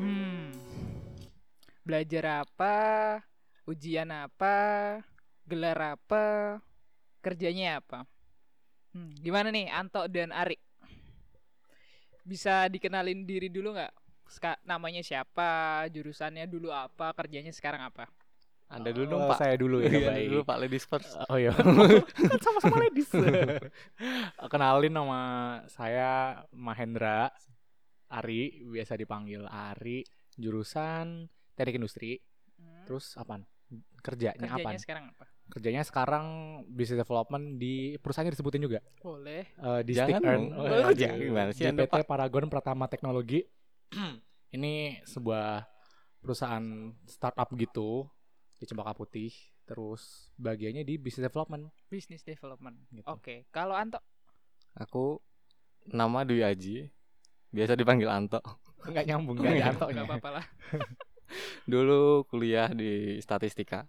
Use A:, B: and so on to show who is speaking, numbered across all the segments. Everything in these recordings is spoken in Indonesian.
A: Hmm. Belajar apa? Ujian apa? Gelar apa? Kerjanya apa? Hmm, gimana nih Anto dan Ari? Bisa dikenalin diri dulu nggak? Ska- namanya siapa? Jurusannya dulu apa? Kerjanya sekarang apa?
B: Anda dulu
C: Oh,
B: dong, Pak.
C: Saya dulu ya,
B: Iya,
C: baik.
B: dulu Pak Eh, Ladies first.
C: Oh iya. Eh,
B: Kan sama-sama ladies.
C: Kenalin nama saya Mahendra Ari, biasa dipanggil Ari, jurusan Teknik Industri.
A: Hmm,
C: Terus apaan? Kerjanya,
A: kerjanya
C: apaan?
A: sekarang apa?
C: Kerjanya sekarang business development di perusahaannya disebutin juga.
A: Boleh.
C: Eh, di
B: Jangan
C: Stick Earn.
B: dong.
C: Oh,
B: Oh,
C: iya,
B: jangan.
C: di-
B: Gimana sih
C: di
B: Anda,
C: PT Paragon Pratama Teknologi. Ini sebuah perusahaan startup gitu di Cempaka Putih. Terus bagiannya di business development.
A: Business development.
C: Gitu.
A: Oke. Kalau Anto
B: Aku nama Dwi Aji. Biasa dipanggil Anto.
C: Nggak nyambung, nggak ada
A: nggak ya.
C: antoknya.
A: apa-apa lah.
B: Dulu kuliah di statistika.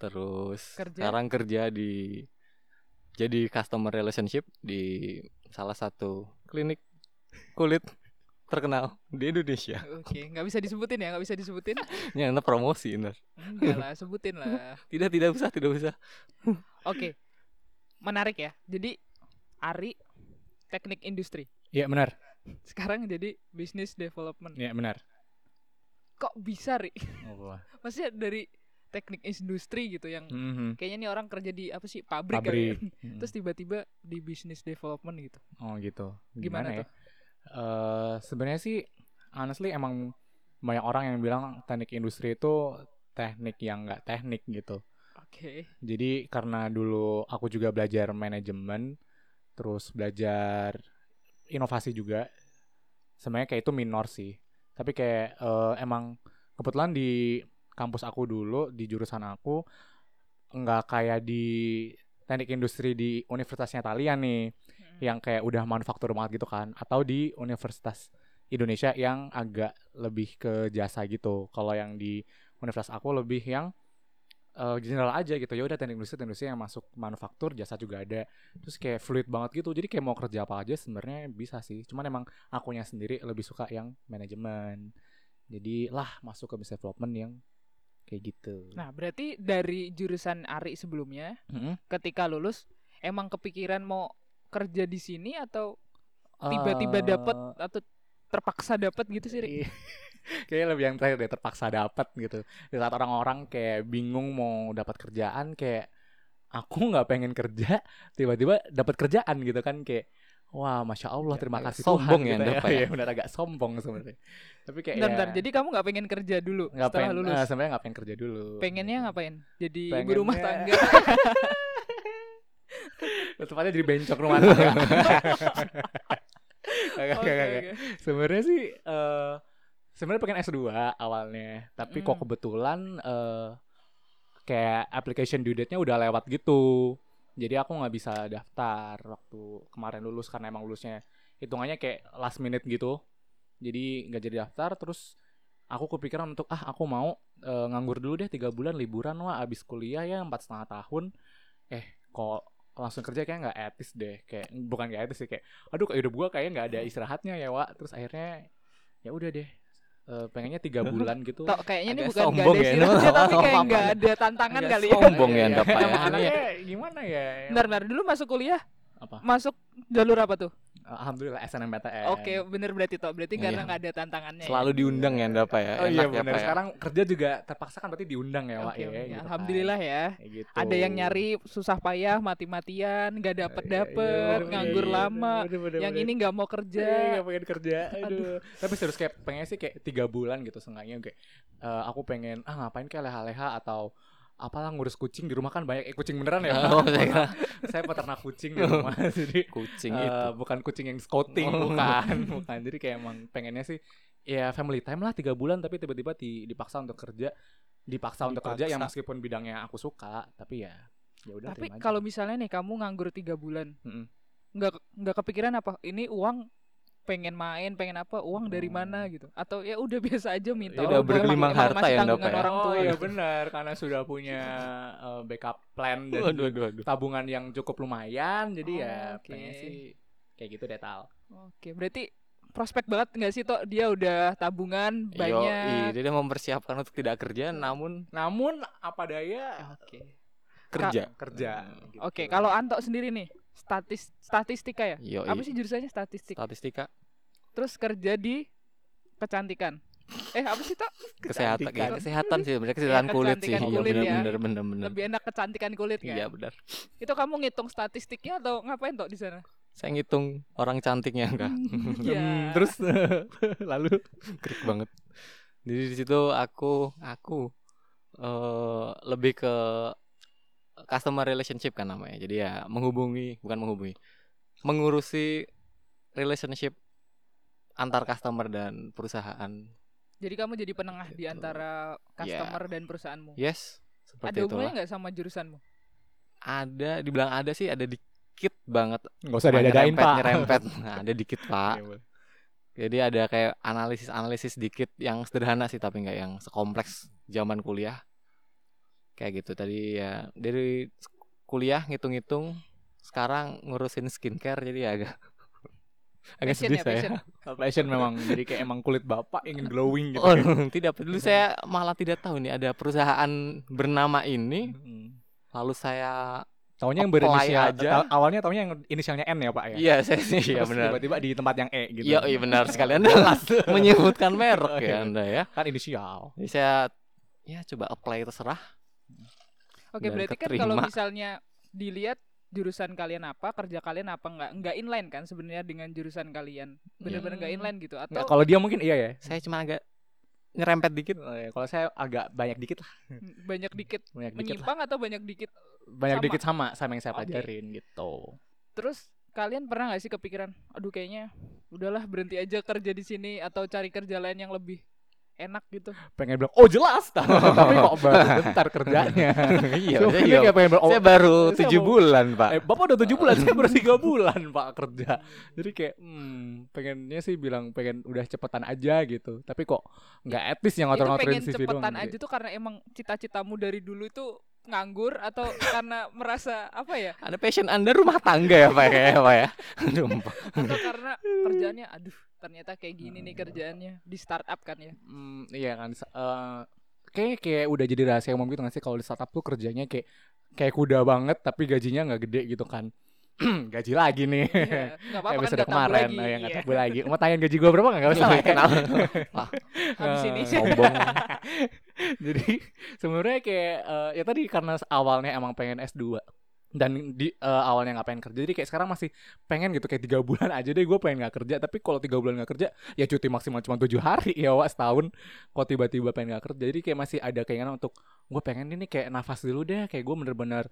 B: Terus
A: Kerja?
B: sekarang kerja di jadi customer relationship di salah satu klinik kulit terkenal di Indonesia.
A: Oke, nggak bisa disebutin ya, nggak bisa disebutin.
B: Ya, enak promosi, bener.
A: Enggak lah, sebutin lah.
B: Tidak, tidak usah, tidak usah.
A: Oke. Menarik ya. Jadi Ari teknik industri.
C: Iya benar,
A: Sekarang jadi business development.
C: iya benar.
A: Kok bisa, Ri? Maksudnya dari teknik industri gitu yang
C: Mhm.
A: kayaknya nih orang kerja di apa sih? Pabrik, kali ya.
C: Pabrik. Mhm.
A: Terus tiba-tiba di business development gitu.
C: oh gitu.
A: Gimana
C: ya? Eh, Sebenarnya sih, honestly emang banyak orang yang bilang teknik industri itu teknik yang nggak teknik gitu.
A: Oke.
C: Jadi karena dulu aku juga belajar manajemen, terus belajar inovasi juga. Sebenarnya kayak itu minor sih. Tapi kayak eh, emang kebetulan di kampus aku dulu di jurusan aku nggak kayak di teknik industri di Universitasnya Talian nih,
A: Hmm.
C: yang kayak udah manufaktur banget gitu kan, atau di Universitas Indonesia yang agak lebih ke jasa gitu. Kalau yang di universitas aku lebih yang eh, general aja gitu ya udah teknik industri teknik industri yang masuk manufaktur jasa juga ada terus kayak fluid banget gitu jadi kayak mau kerja apa aja sebenarnya bisa sih cuman emang akunya sendiri lebih suka yang manajemen jadi lah masuk ke business development yang kayak gitu
A: Nah, berarti dari jurusan Ari sebelumnya
C: Mm-mm.
A: ketika lulus emang kepikiran mau kerja di sini atau tiba-tiba
C: Eh,
A: dapet atau terpaksa dapet gitu sih Ri?
C: Iya. Kayaknya lebih yang terakhir deh terpaksa dapat gitu. Di saat orang-orang kayak bingung mau dapat kerjaan kayak aku nggak pengen kerja, tiba-tiba dapat kerjaan gitu kan kayak wah masya Allah
B: Iya,
C: terima
B: agak
C: kasih
B: sombong
C: Tuhan
B: ya
C: gitu
B: Anda, Pak, ya.
C: Iya, benar agak sombong sebenarnya. Tapi kayak
A: Bentar,
C: ya,
A: bentar. Jadi kamu nggak pengen kerja dulu
C: nggak
A: setelah
C: pengen,
A: lulus?
C: eh, sebenarnya nggak pengen kerja dulu.
A: Pengennya
C: Gitu.
A: ngapain? Jadi ibu
C: Pengennya-
A: rumah tangga.
C: Tepatnya jadi bencok rumah tangga. Kagak,
A: Oke,
C: kagak,
A: oke.
C: sebenarnya sih eh sebenarnya pengen S2 awalnya tapi kok
A: Mm.
C: kebetulan eh kayak application due date-nya udah lewat gitu jadi aku nggak bisa daftar waktu kemarin lulus karena emang lulusnya hitungannya kayak last minute gitu jadi nggak jadi daftar terus aku kepikiran untuk ah aku mau eh, nganggur dulu deh tiga bulan liburan wah abis kuliah ya empat setengah tahun eh kok langsung kerja kayak nggak etis deh kayak bukan nggak etis sih kayak aduh kayak hidup gua kayaknya nggak ada istirahatnya ya wa terus akhirnya ya udah deh Eh, pengennya tiga bulan gitu
A: Tok, kayaknya ini
B: Agak
A: bukan nggak
B: sombong
A: ada
B: ya,
A: istirahatnya,
B: nama-
A: tapi kayak
B: nama-
A: nggak ada tantangan
B: Agak
A: kali ya.
C: Iya,
B: sombong ya Anda, Pak, ya.
C: Emang
B: Ini-
C: anaknya gimana ya
A: Bentar, bentar. Dulu masuk kuliah,
C: apa
A: masuk jalur apa tuh?
C: alhamdulillah SNMPTN
A: Oke, bener berarti Tok. Berarti
B: Iya.
A: karena nggak ada tantangannya. ya?
B: Selalu diundang ya Anda, Pak, ya.
C: oh Eh, iya
B: Enak ya,
C: benar
B: Pak, ya.
C: sekarang kerja juga terpaksa kan berarti diundang ya wa
A: Oke,
C: ya,
A: oke.
C: gitu kan.
A: Alhamdulillah ya.
C: Kayak gitu.
A: Ada yang nyari susah payah, mati-matian, nggak dapet
C: Iya, iya,
A: dapet,
C: bener-bener.
A: nganggur
C: Iya,
A: lama.
C: bener-bener.
A: Yang ini nggak mau
C: Iya,
A: kerja.
C: nggak pengen kerja
A: Aduh.
C: aduh tapi serius kayak pengen sih kayak tiga bulan gitu seenggaknya kayak eh, aku pengen ah ngapain kayak leha-leha atau apalah ngurus kucing di rumah kan banyak eh, kucing beneran ya
B: Oh, iya.
C: saya peternak kucing di rumah jadi
B: Kucing
C: eh,
B: itu.
C: bukan kucing yang scouting
B: Oh.
C: bukan bukan jadi kayak emang pengennya sih ya family time lah tiga bulan tapi tiba-tiba di- dipaksa untuk kerja dipaksa, untuk kerja
B: Dipaksa.
C: yang meskipun bidangnya aku suka tapi ya ya udah
A: Tapi
C: terima aja.
A: kalau misalnya nih kamu nganggur tiga bulan,
C: Mm-mm.
A: nggak nggak kepikiran apa ini uang pengen main pengen apa uang dari mana gitu atau ya udah biasa aja minta
B: Ya
A: orang tua,
B: udah
A: emang-
B: bergelimang
A: emang
B: harta
A: masih
B: ya, Nda,
A: tanggungan
B: Pak, ya?
A: orang tua
C: oh iya
A: gitu.
C: benar karena sudah punya eh, backup plan dan
B: Waduh, waduh, waduh.
C: tabungan
B: Oh,
C: yang cukup lumayan jadi ya
A: Oke.
C: pengen sih kayak gitu deh tal
A: oke berarti prospek banget nggak sih toh dia udah tabungan
B: Yoi,
A: banyak.
B: dia mempersiapkan untuk tidak kerja namun
C: Namun apa daya
A: Oke.
B: kerja.
C: kerja.
B: Hmm,
C: gitu.
A: Oke, kalau Anto sendiri nih statis statistika ya.
B: Yoi.
A: Apa sih jurusannya statistik?
B: Statistika
A: Terus kerja di kecantikan. Eh, apa sih toh?
B: kesehatan
C: Kecantikan.
B: ya, kesehatan sih sebenarnya kesehatan
A: Iya,
B: kulit sih.
A: kecantikan
B: Iya
A: kulit
B: benar
A: ya.
B: benar benar benar.
A: Lebih enak kecantikan kulit kan?
B: Iya benar.
A: Itu kamu ngitung statistiknya atau ngapain toh di sana?
B: Saya ngitung orang cantiknya enggak. Hmm,
A: Iya.
C: Terus lalu
B: Krik banget. Jadi di situ aku aku eh lebih ke customer relationship kan namanya. Jadi ya menghubungi, bukan menghubungi. Mengurusi relationship antar customer dan perusahaan.
A: Jadi kamu jadi penengah di
B: Gitu.
A: antara customer dan perusahaanmu.
B: Yes,
A: Ada
B: seperti itu
A: hubungannya nggak sama jurusanmu?
B: Ada dibilang ada sih, ada dikit banget.
C: nggak usah diadain
B: Nyerempet,
C: pak.
B: nyerempet. Nah, ada dikit, Pak.
C: Iya, boleh.
B: Jadi ada kayak analisis-analisis dikit yang sederhana sih tapi nggak yang sekompleks zaman kuliah. Kayak gitu tadi ya dari kuliah ngitung-ngitung sekarang ngurusin skincare jadi ya agak agak
A: Passion
B: sedih
A: ya,
B: saya.
A: passion.
C: Passion memang jadi kayak emang kulit bapak ingin glowing gitu.
B: Oh, tidak dulu saya malah tidak tahu nih ada perusahaan bernama ini
C: Hmm.
B: lalu saya
C: Taunya yang
B: Apply
C: berinisial
B: aja.
C: ta- awalnya taunya yang inisialnya N ya pak ya.
B: iya saya sih iya
C: Terus
B: benar.
C: Tiba-tiba di tempat yang E gitu.
B: Iya, iya benar sekali Anda menyebutkan
C: Oh,
B: merek
C: iya.
B: ya Anda ya.
C: Kan inisial.
B: Jadi saya ya coba apply terserah
A: Oke,
B: Dan
A: berarti kan kalau
B: keterima.
A: misalnya dilihat jurusan kalian apa, kerja kalian apa nggak nggak inline kan sebenarnya dengan jurusan kalian. Bener-bener nggak
B: Hmm.
A: inline gitu atau
C: Nggak, kalau dia mungkin iya ya.
B: saya cuma agak nyerempet dikit
C: Oh, iya. Kalau saya agak banyak dikit lah,
A: banyak dikit
C: banyak dikit lah.
A: menyimpang atau banyak dikit.
C: Banyak
A: Sama.
C: dikit sama sama yang saya
A: Oke.
C: pelajarin gitu.
A: Terus kalian pernah nggak sih kepikiran, aduh kayaknya udahlah berhenti aja kerja di sini atau cari kerja lain yang lebih enak gitu.
C: Pengen bilang, "Oh, jelas." Tapi kok baru bentar kerjanya.
B: iya,
C: So,
B: saya,
C: ini
B: juga-
C: kayak pengen bilang, "Oh,
B: saya baru
C: saya
B: tujuh
C: mau-
B: bulan pak
C: Eh, bapak udah tujuh bulan, saya baru tiga bulan pak kerja. Jadi kayak, hmm, pengennya sih bilang pengen udah cepetan aja gitu. Tapi kok nggak etis
A: itu
C: yang ngotor-ngotorin gitu.
A: pengen
C: CV doang.
A: cepetan aja
C: Jadi,
A: tuh karena emang cita-citamu dari dulu itu nganggur atau karena merasa apa ya?
B: ada passion anda rumah tangga ya pak kayaknya pak ya Aduh, Pak.
A: Atau karena kerjaannya aduh ternyata kayak gini nih kerjaannya di startup kan ya.
C: hmm, iya kan. se- eh, kayaknya kayak udah jadi rahasia umum gitu nggak sih kalau di startup tuh kerjanya kayak kayak kuda banget tapi gajinya nggak gede gitu kan. Gaji lagi nih.
A: Iya, nggak apa-apa
C: Kayak
A: kan
C: episode
A: nggak tabu
C: kemarin,
A: lagi.
C: oh, yang
A: iya.
C: nggak tabu lagi. Mau tanyain gaji gua berapa nggak? Nggak masalah. ya? Eh,
B: kenapa
A: Habis ini
C: Oh.
B: sombong
C: Jadi sebenarnya kayak eh, ya tadi karena awalnya emang pengen S2 dan di eh, awalnya nggak pengen kerja jadi kayak sekarang masih pengen gitu kayak tiga bulan aja deh gue pengen nggak kerja tapi kalau tiga bulan nggak kerja ya cuti maksimal cuma tujuh hari ya wak setahun kok tiba-tiba pengen nggak kerja jadi kayak masih ada keinginan untuk gue pengen ini kayak nafas dulu deh kayak gue bener-bener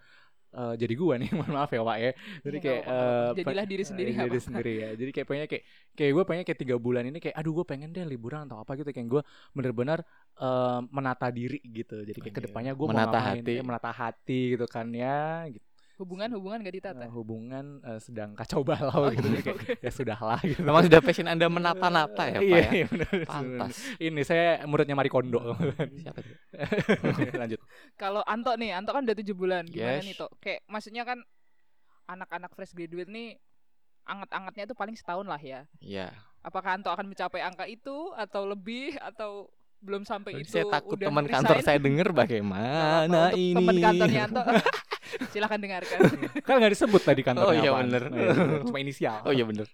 C: eh, jadi gue nih mohon maaf ya wak ya
A: Iya,
C: jadi
A: nggak
C: kayak
A: apa-apa, nggak apa-apa.
C: eh, pe-
A: jadilah diri sendiri
C: Eh,
A: nggak
C: diri
A: apa-apa.
C: sendiri ya jadi kayak pengennya kayak kayak gue pengen kayak tiga bulan ini kayak aduh gue pengen deh liburan atau apa gitu kayak gue bener-bener eh, menata diri gitu jadi kayak
B: Oke.
C: kedepannya gue
B: Menata
C: mau ngapain,
B: hati.
C: ya, menata hati gitu kan ya gitu.
A: hubungan hubungan gak ditata.
C: Eh, hubungan eh, sedang kacau
A: Oh,
C: balau gitu jadi kayak
A: iya.
C: ya sudahlah gitu
B: memang sudah passion anda menata nata ya pak
C: Iya,
B: ya
C: iya, bener.
B: pantas
C: ini saya muridnya Marie Kondo
B: Hmm. siapa tuh
C: lanjut
A: Kalau Anto nih, Anto kan udah tujuh bulan, gimana
B: Yes.
A: nih Tok? Kayak maksudnya kan anak-anak fresh graduate nih anget-angetnya itu paling setahun lah ya.
B: ya
A: Apakah Anto akan mencapai angka itu atau lebih atau belum sampai itu?
B: saya takut
A: udah
B: teman kantor
A: resign?
B: saya dengar
A: Nggak apa-apa,
B: bagaimana
A: untuk
B: ini
A: Teman kantornya Anto. Silahkan dengarkan.
C: kan nggak disebut tadi kantornya
B: Oh, iya,
C: apaan.
B: bener.
C: Nah, iya, bener. cuma inisial
B: oh iya bener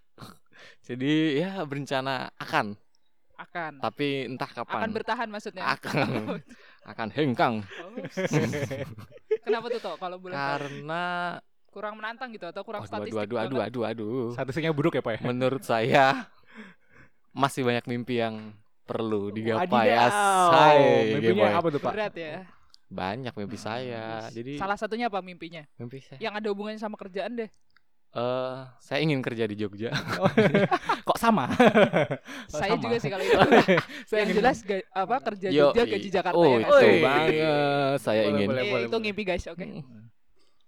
B: jadi ya berencana akan
A: Akan.
B: tapi entah kapan
A: Akan bertahan maksudnya.
B: Akan. akan hengkang
A: Oh, Kenapa tuh Tok kalau boleh tahu?
B: karena
A: kurang menantang gitu atau kurang
B: Oh, aduh,
A: statistik kan?
B: aduh, aduh, aduh,
A: banget?
B: aduh, aduh.
C: statusnya buruk ya pak ya
B: menurut saya masih banyak mimpi yang perlu digapai
C: Wadidaw.
B: asai
C: mimpinya
B: gemoy.
C: apa tuh pak
A: berat ya
B: banyak mimpi saya Ah, jadi
A: salah satunya apa mimpinya
B: mimpi saya
A: yang ada hubungannya sama kerjaan deh
B: Eh, saya ingin kerja di Jogja
C: kok sama
A: saya
B: Oh,
C: sama.
A: juga sih kalau itu yang
C: ingin-
A: jelas ga- apa kerja
B: Yo,
A: Jogja
B: i-
A: gaji Jakarta
B: oh,
A: ya nggak
B: itu
A: sih?
C: Oi.
B: banget saya
C: Boleh,
B: ingin
C: boleh,
A: Eh,
C: boleh,
A: itu
C: boleh.
A: mimpi guys oke
B: Mm.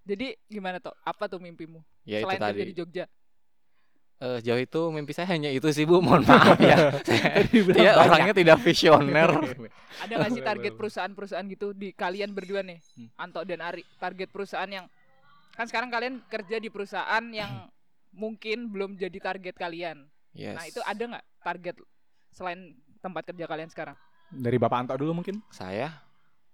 A: jadi gimana tuh apa tuh mimpimu
B: ya itu
A: selain
B: tadi
A: kerja di Jogja
B: Eh, jauh itu mimpi saya hanya itu sih bu mohon maaf ya saya
C: Dibilang
B: dia
C: banyak.
B: orangnya tidak visioner
A: ada nggak sih
C: Boleh,
A: target
C: boleh.
A: perusahaan-perusahaan gitu di kalian berdua nih
C: Hmm.
A: Anto dan Ari target perusahaan yang
B: Hmm.
A: kan sekarang kalian kerja di perusahaan yang mungkin belum jadi target kalian
B: Yes.
A: Nah itu ada nggak target selain tempat kerja kalian sekarang?
C: Dari Bapak Anto dulu mungkin.
B: Saya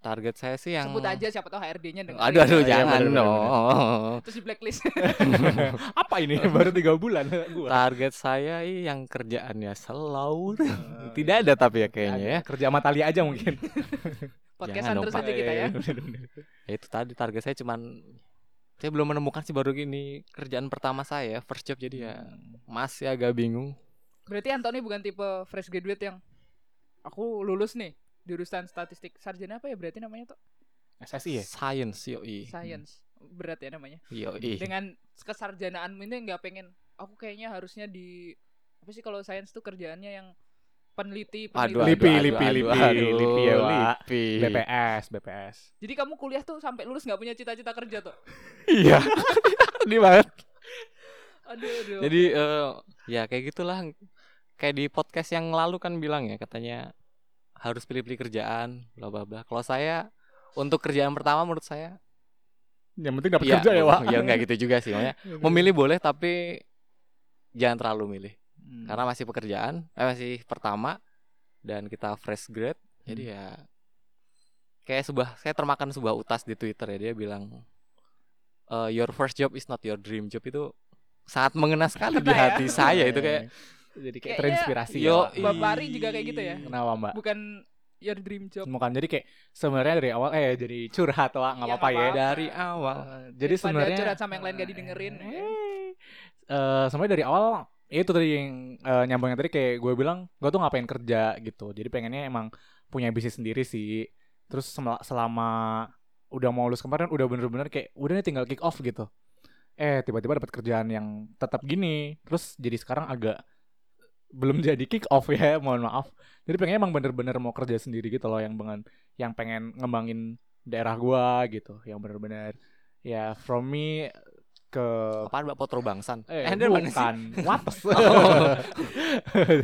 B: target saya sih yang
A: Sebut aja siapa tahu HRD-nya dengerin. ya.
B: Aduh aduh
C: Iya,
B: jangan
C: bener, bener,
B: dong.
A: Terus di blacklist.
C: Apa ini? Baru tiga bulan gua.
B: Target saya ih, yang kerjaannya slow. Tidak ada tapi ya kayaknya ya.
C: Kerja sama Talia aja mungkin.
A: Podcastan
B: Jangan
A: terus
B: dong, Iya,
A: aja kita ya.
B: Ya, Itu tadi target saya cuman saya belum menemukan sih baru gini kerjaan pertama saya first job jadi ya
C: Hmm.
B: masih agak bingung.
A: Berarti Anthony bukan tipe fresh graduate yang aku lulus nih jurusan statistik sarjana apa ya berarti namanya tuh
C: SSI ya?
B: Science yoi.
A: science
B: hmm.
A: berat ya namanya
B: Yoi.
A: dengan kesarjanaan ini nggak pengen aku kayaknya harusnya di apa sih kalau science tuh kerjaannya yang peneliti peneliti
B: Aduh, aduh,
C: Lipi,
B: aduh,
C: lipi,
B: aduh,
C: lipi,
B: aduh,
C: lipi ya, Wak.
B: lipi.
C: BPS, BPS.
A: jadi kamu kuliah tuh sampai lulus nggak punya cita-cita kerja tuh
B: Iya. Sedih banget.
A: aduh aduh
B: Jadi eh, ya kayak gitulah kayak di podcast yang lalu kan bilang ya katanya harus pilih-pilih kerjaan bla bla bla. Kalau saya untuk kerjaan pertama menurut saya
C: Yang penting dapat kerja ya, Wak.
B: ya enggak gitu juga sih maksudnya. Memilih boleh tapi jangan terlalu milih
C: Hmm.
B: karena masih pekerjaan, eh, masih pertama dan kita fresh grade. Jadi ya kayak sebuah saya termakan sebuah utas di Twitter ya dia bilang "Eh, your first job is not your dream job itu sangat mengena sekali
A: Kena
B: di
A: ya.
B: hati saya itu kayak
C: jadi kayak
A: Kayaknya
C: terinspirasi
B: yo, iya.
C: ya. Wak.
A: Mbak Pari juga kayak gitu ya?
C: Kenapa, Mbak?
A: bukan your dream job
C: Bukan jadi kayak sebenarnya dari awal eh jadi curhat Wak,
A: Iya,
C: nggak apa-apa ya.
A: nggak apa-apa.
B: dari awal
C: Eh, jadi
A: Daripada
C: sebenarnya
A: curhat sama yang lain nggak didengerin,
C: Eh,
A: ya.
C: eh, sebenarnya dari awal ya itu tadi yang eh, nyambungnya tadi kayak gue bilang gue tuh ngapain kerja gitu. Jadi pengennya emang punya bisnis sendiri sih. Terus semel- selama udah mau lulus kemarin udah bener-bener kayak udah nih tinggal kick off gitu. Eh tiba-tiba dapat kerjaan yang tetap gini. Terus jadi sekarang agak belum jadi kick off ya, mohon maaf. Jadi pengen emang bener-bener mau kerja sendiri gitu loh yang pengen yang pengen ngembangin daerah gua gitu, yang bener-bener ya from me ke
B: apaan Mbak Potro Bangsan?
C: eh
B: Ender mana sih?
C: bukan wates
A: Oh.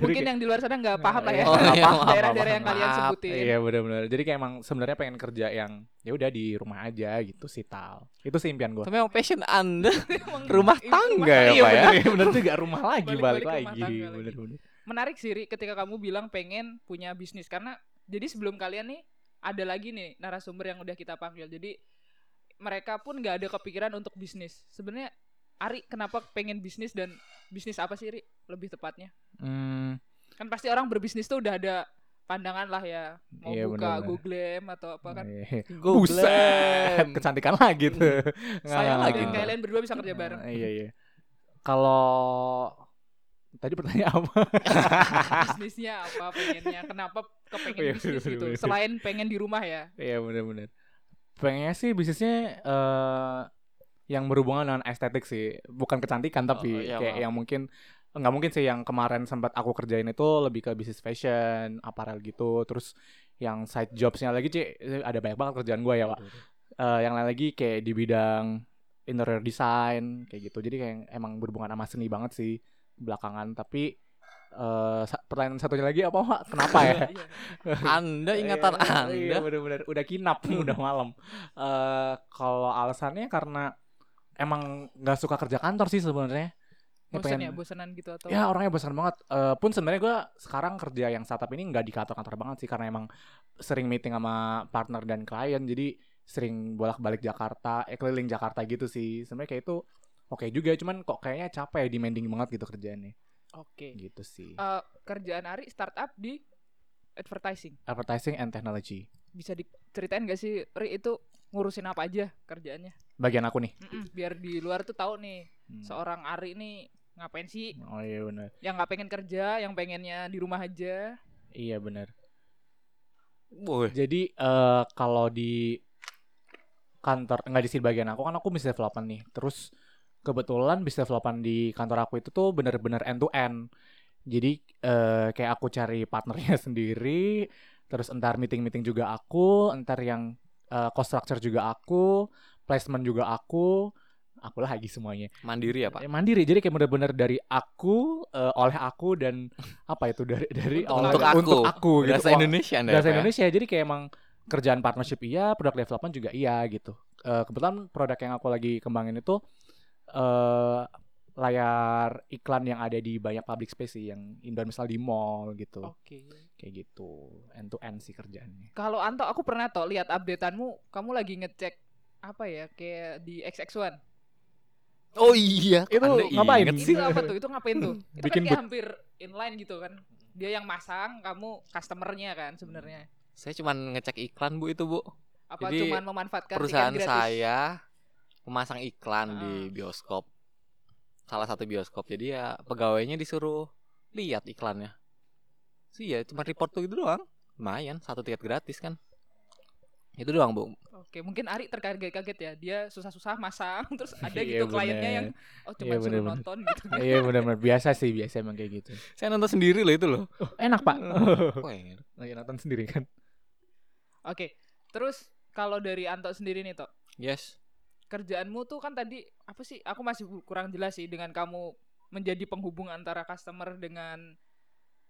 A: mungkin yang di luar sana nggak paham lah ya
B: Oh, iya,
A: Apa
B: maaf,
A: daerah-daerah
C: maaf,
A: yang kalian
B: maaf.
A: sebutin
C: iya benar-benar jadi kayak emang sebenarnya pengen kerja yang ya udah di rumah aja gitu sih tal itu sih impian gue
B: Tapi emang passion Anda
A: Emang-
B: rumah
A: Ih,
B: tangga ya,
A: tangga.
B: Pak ya.
C: bener juga rumah lagi
A: iya, Balik-balik
C: balik,
A: rumah
C: lagi
A: tangga lagi.
C: bener-bener
A: menarik sih Ri, ketika kamu bilang pengen punya bisnis karena jadi sebelum kalian nih ada lagi nih narasumber yang udah kita panggil jadi mereka pun nggak ada kepikiran untuk bisnis sebenarnya Ari kenapa pengen bisnis dan bisnis apa sih Ri lebih tepatnya
C: hmm,
A: kan pasti orang berbisnis tuh udah ada pandangan lah ya mau
C: Iya,
A: buka
C: benar-benar.
A: Google atau apa kan
C: eh,
B: Go
C: buset
B: Glam.
C: kecantikan lagi tuh
A: saya
C: Nggak,
A: hmm. lagi
C: nggak.
A: kalian berdua bisa kerja bareng
C: Eh, Nah, gitu. iya iya kalau tadi pertanyaan apa
A: bisnisnya apa pengennya kenapa kepengen
C: Oh, iya,
A: bisnis
C: bener-bener,
A: gitu
C: bener-bener.
A: selain pengen di rumah ya
C: Iya benar-benar. Pengennya sih bisnisnya eh yang berhubungan dengan estetik sih, bukan kecantikan tapi
B: Oh, iya,
C: kayak
B: maaf.
C: yang mungkin nggak mungkin sih yang kemarin sempat aku kerjain itu lebih ke bisnis fashion, apparel gitu, terus yang side jobsnya lagi sih ada banyak banget kerjaan gue ya pak. Eh, yang lain lagi kayak di bidang interior design kayak gitu, jadi kayak emang berhubungan sama seni banget sih belakangan. Tapi eh sa- pertanyaan satunya lagi apa pak? Kenapa ya?
A: Iya.
B: Anda ingatan
C: Iya, Iya,
B: Anda.
C: bener-bener udah kinap,
A: Hmm.
C: udah malam. Eh kalau alasannya karena emang nggak suka kerja kantor sih sebenarnya. Ya,
A: bosan
C: pengen-
A: ya bosanan gitu atau
C: Ya orangnya bosan banget. Eh pun sebenarnya gue sekarang kerja yang startup ini nggak di kantor-kantor banget sih karena emang sering meeting sama partner dan klien jadi sering bolak-balik Jakarta, eh, keliling Jakarta gitu sih. Sebenarnya kayak itu oke juga, cuman kok kayaknya capek, demanding banget gitu kerjaannya.
A: oke
C: Gitu sih.
A: Eh, kerjaan Ari startup di advertising.
C: Advertising and technology.
A: Bisa diceritain gak sih Ri itu ngurusin apa aja kerjaannya?
C: Bagian aku nih.
A: Mm-mm, Biar di luar tuh tahu nih
C: Hmm.
A: seorang Ari nih ngapain sih?
C: Oh iya bener.
A: Yang nggak pengen kerja, yang pengennya di rumah aja.
C: Iya bener.
B: Woi,
C: Jadi eh kalau di kantor nggak di sini bagian aku kan aku bisnis development nih. Terus kebetulan bisnis development di kantor aku itu tuh bener-bener end to end. Jadi eh kayak aku cari partnernya sendiri, terus entar meeting-meeting juga aku, entar yang eh, cost structure juga aku, placement juga aku, aku lagi semuanya.
B: mandiri ya, Pak?
C: Ya, mandiri jadi kayak bener-bener dari aku eh, oleh aku dan apa itu dari dari
B: Untuk
C: oleh-
B: aku.
C: untuk aku gitu.
B: Bahasa
C: Wah,
B: Indonesia Anda. ya,
C: Bahasa
B: Pak, ya?
C: Indonesia jadi kayak emang kerjaan partnership iya, produk development juga iya gitu. Eh, kebetulan produk yang aku lagi kembangin itu eh layar iklan yang ada di banyak public space sih yang indoor misal di mall gitu
A: Oke.
C: kayak gitu end to end sih kerjaannya
A: Kalau Anto aku pernah toh lihat updateanmu, kamu lagi ngecek apa ya kayak di XX1.
B: Oh iya,
C: Itu
B: Anda
C: ngapain?
B: inget.
A: Itu apa tuh? Itu ngapain tuh? Itu kan
C: Bikin
A: kayak
C: bot.
A: hampir inline gitu kan. Dia yang masang, kamu customernya kan sebenarnya.
B: Saya cuman ngecek iklan Bu itu Bu.
A: Apa
B: Jadi,
A: cuman memanfaatkan tiket
B: Perusahaan
A: gratis?
B: saya memasang iklan
A: Ah.
B: di bioskop. Salah satu bioskop. Jadi ya pegawainya disuruh lihat iklannya. Sih ya cuma report tuh gitu doang. Lumayan, satu tiket gratis kan. Itu doang, Bu.
A: Oke, mungkin Ari terkaget-kaget ya. Dia susah-susah masang, terus ada
C: Iya,
A: gitu kliennya
C: bener.
A: yang oh cuma
C: Iya,
A: suruh
C: bener-bener.
A: nonton gitu.
C: iya benar-benar biasa sih biasa emang kayak gitu
B: Saya nonton sendiri loh itu loh.
C: oh, enak pak
B: Wah, iya.
C: lagi nonton sendiri kan
A: Oke. Terus kalau dari Anto sendiri nih, Tok.
B: Yes.
A: Kerjaanmu tuh kan tadi apa sih? Aku masih bu- kurang jelas sih dengan kamu menjadi penghubung antara customer dengan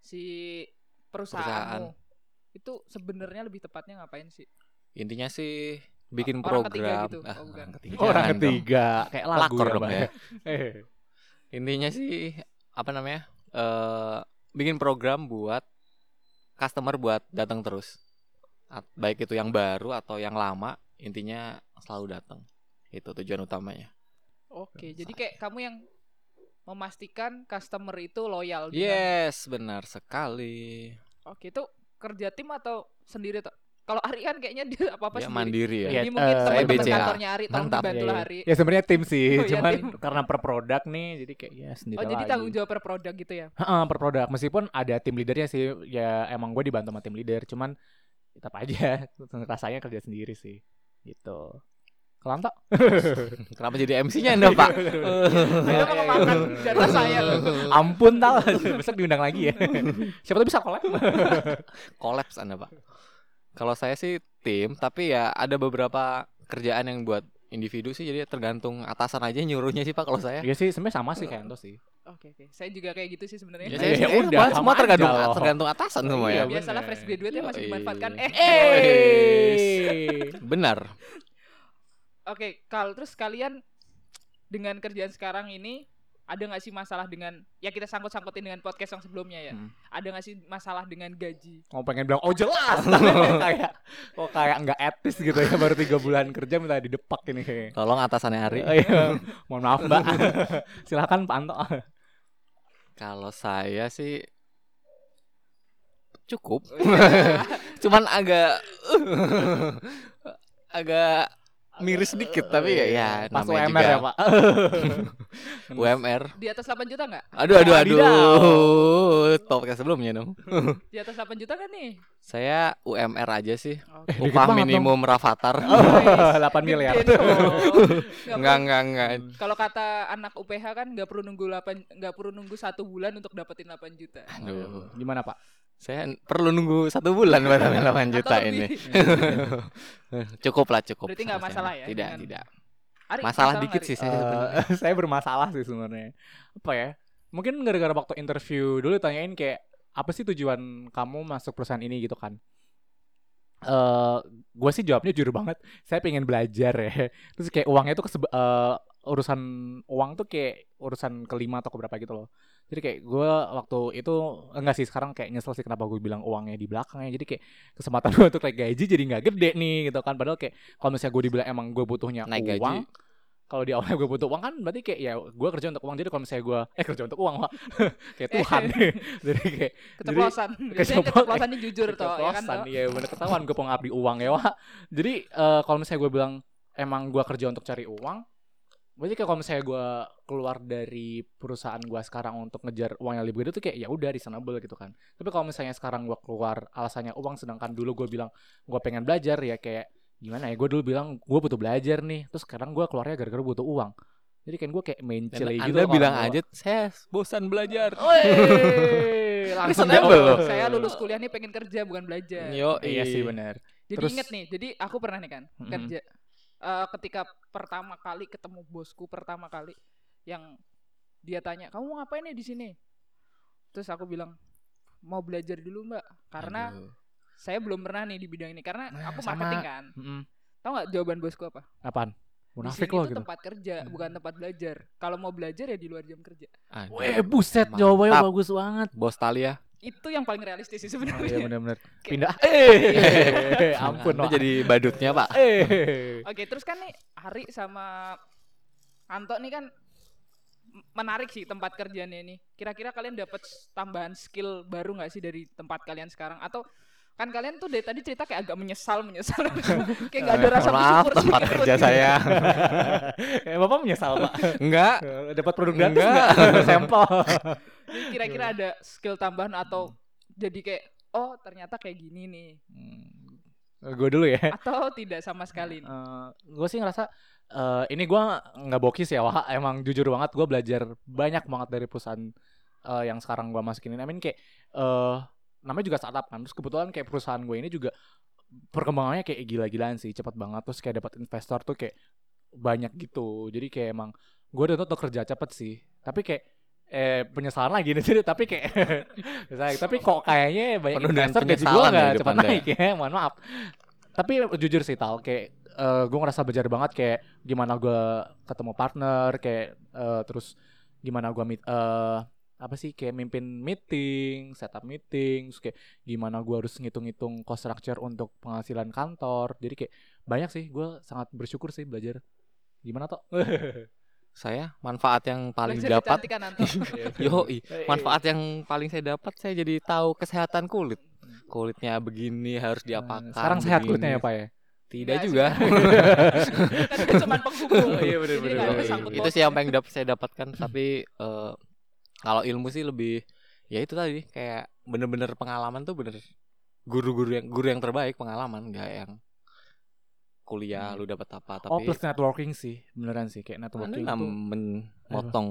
A: si perusahaanmu. Itu sebenarnya lebih tepatnya ngapain sih?
B: Intinya sih bikin
A: Orang ketiga
B: program.
A: gitu.
B: Ah,
A: Oh, bukan.
B: orang ketiga.
C: orang
B: jangan dong.
C: ketiga kayak lagu
B: Pelakor
C: ya,
B: dong
C: Pak.
B: ya.
C: Eh,
B: Intinya sih apa namanya? eh bikin program buat customer buat datang terus. At- Baik itu yang baru atau yang lama, intinya selalu datang. Itu tujuan utamanya.
A: Oke, jadi kayak kamu yang memastikan customer itu loyal
C: Iya,
A: dengan-
B: Yes, benar sekali.
A: Oke, itu kerja tim atau sendiri Tok? Kalau Ari kan kayaknya dia apa-apa
B: Dia
A: sendiri.
B: mandiri ya.
C: Iya.
A: Jadi mungkin
C: eh,
A: teman-teman
B: BCA.
A: kantornya Ari tolong
B: Mantap.
A: dibantu
C: Iya, iya.
A: Ari.
C: ya sebenarnya tim sih
A: Oh, iya,
C: cuman
A: tim.
C: karena per produk nih jadi kayak ya sendiri
A: Oh, jadi
C: lagi.
A: tanggung jawab per produk gitu ya.
C: Heeh, per produk. Meskipun ada tim leadernya sih, ya emang gue dibantu sama tim leader, cuman tetap aja rasanya kerja sendiri sih. Gitu. Kalau Anto?
B: Kenapa jadi MC-nya Anda, Pak?
A: Iya,
C: Iya.
A: Saya mau makan jatah saya.
C: Ampun tau, besok diundang lagi ya. Siapa tuh bisa collab?
B: Collapse Anda, Pak. Kalau saya sih tim, tapi ya ada beberapa kerjaan yang buat individu sih jadi tergantung atasan aja nyuruhnya sih Pak kalau saya.
C: Iya sih, sebenarnya sama sih kayak Anto sih.
A: Oke, oke. Saya juga kayak gitu sih sebenarnya.
B: Ya,
C: Iya,
B: saya-
C: ya
B: eh,
C: udah,
B: bahkan semua
C: sama aja
B: tergantung
C: loh.
B: tergantung atasan semua ya.
C: Iya,
A: Biasalah
C: bener.
A: fresh graduate yang masih
B: Yoi.
A: dimanfaatkan. Eh.
C: Iya. Eh.
B: Benar.
A: Oke, kalau terus kalian dengan kerjaan sekarang ini ada nggak sih masalah dengan ya kita sangkut-sangkutin dengan podcast yang sebelumnya ya.
C: Hmm.
A: Ada nggak sih masalah dengan gaji?
C: Mau pengen bilang, oh jelas. kayak, kok kayak nggak etis gitu ya, baru tiga bulan kerja minta didepak ini kayaknya.
B: Tolong atasannya Ari.
C: Oh, iya. Mohon maaf mbak, silakan Pak Anto.
B: Kalau saya sih cukup. Cuman agak agak miris sedikit tapi ya ya
C: Pas
B: namanya
C: UMR
B: juga
C: ya pak
B: UMR.
A: Di atas 8 juta nggak?
B: Aduh aduh aduh.
C: Wadidaw.
B: Topik sebelumnya dong.
A: Di atas 8 juta kan nih?
B: Saya UMR aja sih.
A: Oke.
C: Eh, dikit
B: Upah
C: banget dong. Oh,
B: minimum Rafathar.
C: 8 miliar
A: Gede dong. oh.
C: iya,
A: Nggak
B: Enggak enggak enggak.
A: perlu- Kalau kata anak UPH kan nggak perlu nunggu 8 nggak perlu nunggu satu bulan untuk dapetin 8 juta.
B: Aduh.
C: gimana pak
B: Saya n- perlu nunggu satu bulan buat ambil 8 juta
A: Atau
B: ini.
A: lebih.
B: cukup lah cukup.
A: Berarti nggak
B: sama saya.
A: masalah ya
B: Tidak
A: dengan-
B: tidak.
A: Ari,
B: Masalah
A: nggak
B: dikit
A: Ari?
B: sih saya.
C: Eh, saya bermasalah sih sebenarnya apa ya mungkin gara-gara waktu interview dulu tanyain kayak apa sih tujuan kamu masuk perusahaan ini gitu kan eh gue sih jawabnya jujur banget saya pengen belajar ya terus kayak uangnya tuh kesebe- eh, urusan uang tuh kayak urusan kelima atau keberapa gitu loh jadi kayak gue waktu itu enggak sih sekarang kayak nyesel sih kenapa gue bilang uangnya di belakang ya jadi kayak kesempatan gue untuk naik gaji jadi nggak gede nih gitu kan padahal kayak kalau misalnya gue dibilang emang gue butuhnya
B: Naik
C: uang
B: gaji.
C: kalau di awalnya gue butuh uang kan berarti kayak ya gue kerja untuk uang jadi kalau misalnya gue eh kerja untuk uang Wak. kayak Tuhan jadi kayak
A: Keceplosan. Biasanya
C: keceplosan.
A: keceplosannya jujur toh, ya kan?
C: keceplosan
A: toh?
C: ya bener ketahuan gue pengabdi uang ya Wak. jadi eh, kalau misalnya gue bilang emang gue kerja untuk cari uang berarti kayak kalau misalnya gue keluar dari perusahaan gue sekarang untuk ngejar uang yang lebih gede tuh kayak ya udah reasonable gitu kan tapi kalau misalnya sekarang gue keluar alasannya uang sedangkan dulu gue bilang gue pengen belajar ya kayak gimana ya gue dulu bilang gue butuh belajar nih terus sekarang gue keluarnya gara-gara butuh uang jadi kan gue kayak main
B: Dan
C: cile gitu
B: anda
C: loh
B: bilang
C: orang
B: aja saya bosan belajar.
C: tua. Wey, langsung
B: Reasonable
C: dapet.
B: loh.
A: Saya lulus kuliah nih pengen kerja bukan belajar.
B: Yo,
C: iya sih benar
A: Jadi
C: Terus-
A: inget nih, jadi aku pernah nih kan
C: Mm-mm.
A: kerja Eh, ketika pertama kali ketemu bosku pertama kali yang dia tanya kamu mau ngapain nih di sini? Terus aku bilang mau belajar dulu mbak karena
B: Aduh.
A: saya belum pernah nih di bidang ini karena
C: Nah,
A: aku
C: sama.
A: marketing kan.
C: Mm-mm.
A: Tahu nggak jawaban bosku apa?
C: apaan
A: di sini
C: munafik lo
A: tuh
C: gitu.
A: tempat kerja, bukan tempat belajar. Kalau mau belajar ya di luar jam kerja.
B: Aduh,
C: Weh, buset
B: Mantap.
C: jawabannya bagus banget.
B: Bos ya. Talia.
A: Itu yang paling realistis sih
C: Oh, iya
A: sebenarnya.
C: benar-benar.
A: Oke.
C: Pindah. Eh, ampun.
B: Anda
C: Wak.
B: jadi badutnya, Pak.
C: Eh.
A: Oke, terus kan nih Ari sama Anto nih kan m- menarik sih tempat kerjanya ini. Kira-kira kalian dapat s- tambahan skill baru nggak sih dari tempat kalian sekarang atau kan kalian tuh dari tadi cerita kayak agak menyesal menyesal kayak nggak ada
B: Eh,
A: rasa
B: Maaf,
A: bersyukur sedikit
B: tempat
A: pun
B: kerja
A: gitu.
B: saya.
C: Eh, Bapak menyesal, Pak.
B: Enggak.
C: Eh, Dapat produk gratis
B: Enggak.
C: enggak? Sampel.
A: Jadi kira-kira ada skill tambahan atau jadi kayak oh ternyata kayak gini nih
C: Gue dulu ya.
A: atau tidak sama sekali nih.
C: gue sih ngerasa eh, ini gue nggak bokis ya wah emang jujur banget gue belajar banyak banget dari perusahaan eh, yang sekarang gue masukin ini I mean kayak eh namanya juga startup kan terus kebetulan kayak perusahaan gue ini juga perkembangannya kayak gila-gilaan sih cepet banget terus kayak dapat investor tuh kayak banyak gitu jadi kayak emang gue udah tuh kerja cepet sih tapi kayak eh penyesalan lagi nih jadi tapi kayak penyesalan. tapi kok kayaknya banyak
B: Penuh dengan
C: investor gaji gue
B: penyesalan ya
C: nggak
B: hidup
C: cepet
B: Anda.
C: naik ya mohon maaf tapi jujur sih tal kayak gue ngerasa belajar banget kayak gimana gue ketemu partner kayak eh, terus gimana gue meet eh, apa sih kayak mimpin meeting setup meeting terus kayak gimana gue harus ngitung-ngitung cost structure untuk penghasilan kantor jadi kayak banyak sih gue sangat bersyukur sih belajar gimana toh
B: Iya, Saya manfaat yang paling
A: Belajar
B: dapat.
A: kecantikan, Anto.
B: iya. Yoi, manfaat yang paling saya dapat saya jadi tahu kesehatan kulit. Kulitnya begini harus
C: Hmm,
B: diapakan.
C: Nah, sekarang sehat kulitnya ya
B: begini.
C: pak ya
B: Tidak
A: Enggak sih,
B: juga.
A: Kan dia cuma penghubung.
C: Oh, iya, bener,
A: Jadi
C: bener,
A: nggak ada
C: bener.
A: sangkut
B: itu sih yang pengen dap- saya dapatkan tapi eh, kalau ilmu sih lebih ya itu tadi kayak bener-bener pengalaman tuh bener guru-guru yang guru yang terbaik pengalaman nggak yang kuliah lu dapat apa tapi Anu
C: oh plus networking sih beneran sih kayak
B: anda
C: networking
B: nggak
C: tuh
B: memotong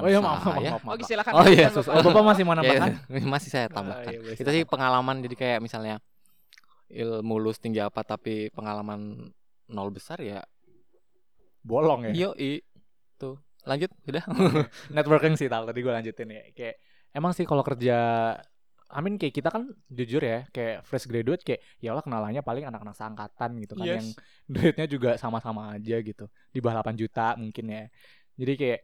C: Iya. oh iya maaf maaf
B: saya
C: maaf, maaf.
A: Oke, silakan.
B: Oh, iya,
A: lanjutkan,
B: susah.
C: Oh,
A: Bapak.
C: bapak masih mau
B: Ya,
C: nambahkan
B: masih saya
C: Ah, iya,
B: tambahkan
C: boleh,
B: itu sih pengalaman jadi kayak misalnya ilmu lu setinggi apa tapi pengalaman nol besar ya
C: bolong ya
B: yoi tuh lanjut udah
C: networking sih tal tadi gue lanjutin ya kayak emang sih kalau kerja Amin kayak kita kan jujur ya kayak fresh graduate kayak ya Allah kenalannya paling anak-anak seangkatan gitu kan
B: Yes.
C: yang duitnya juga sama-sama aja gitu di bawah 8 juta mungkin ya jadi kayak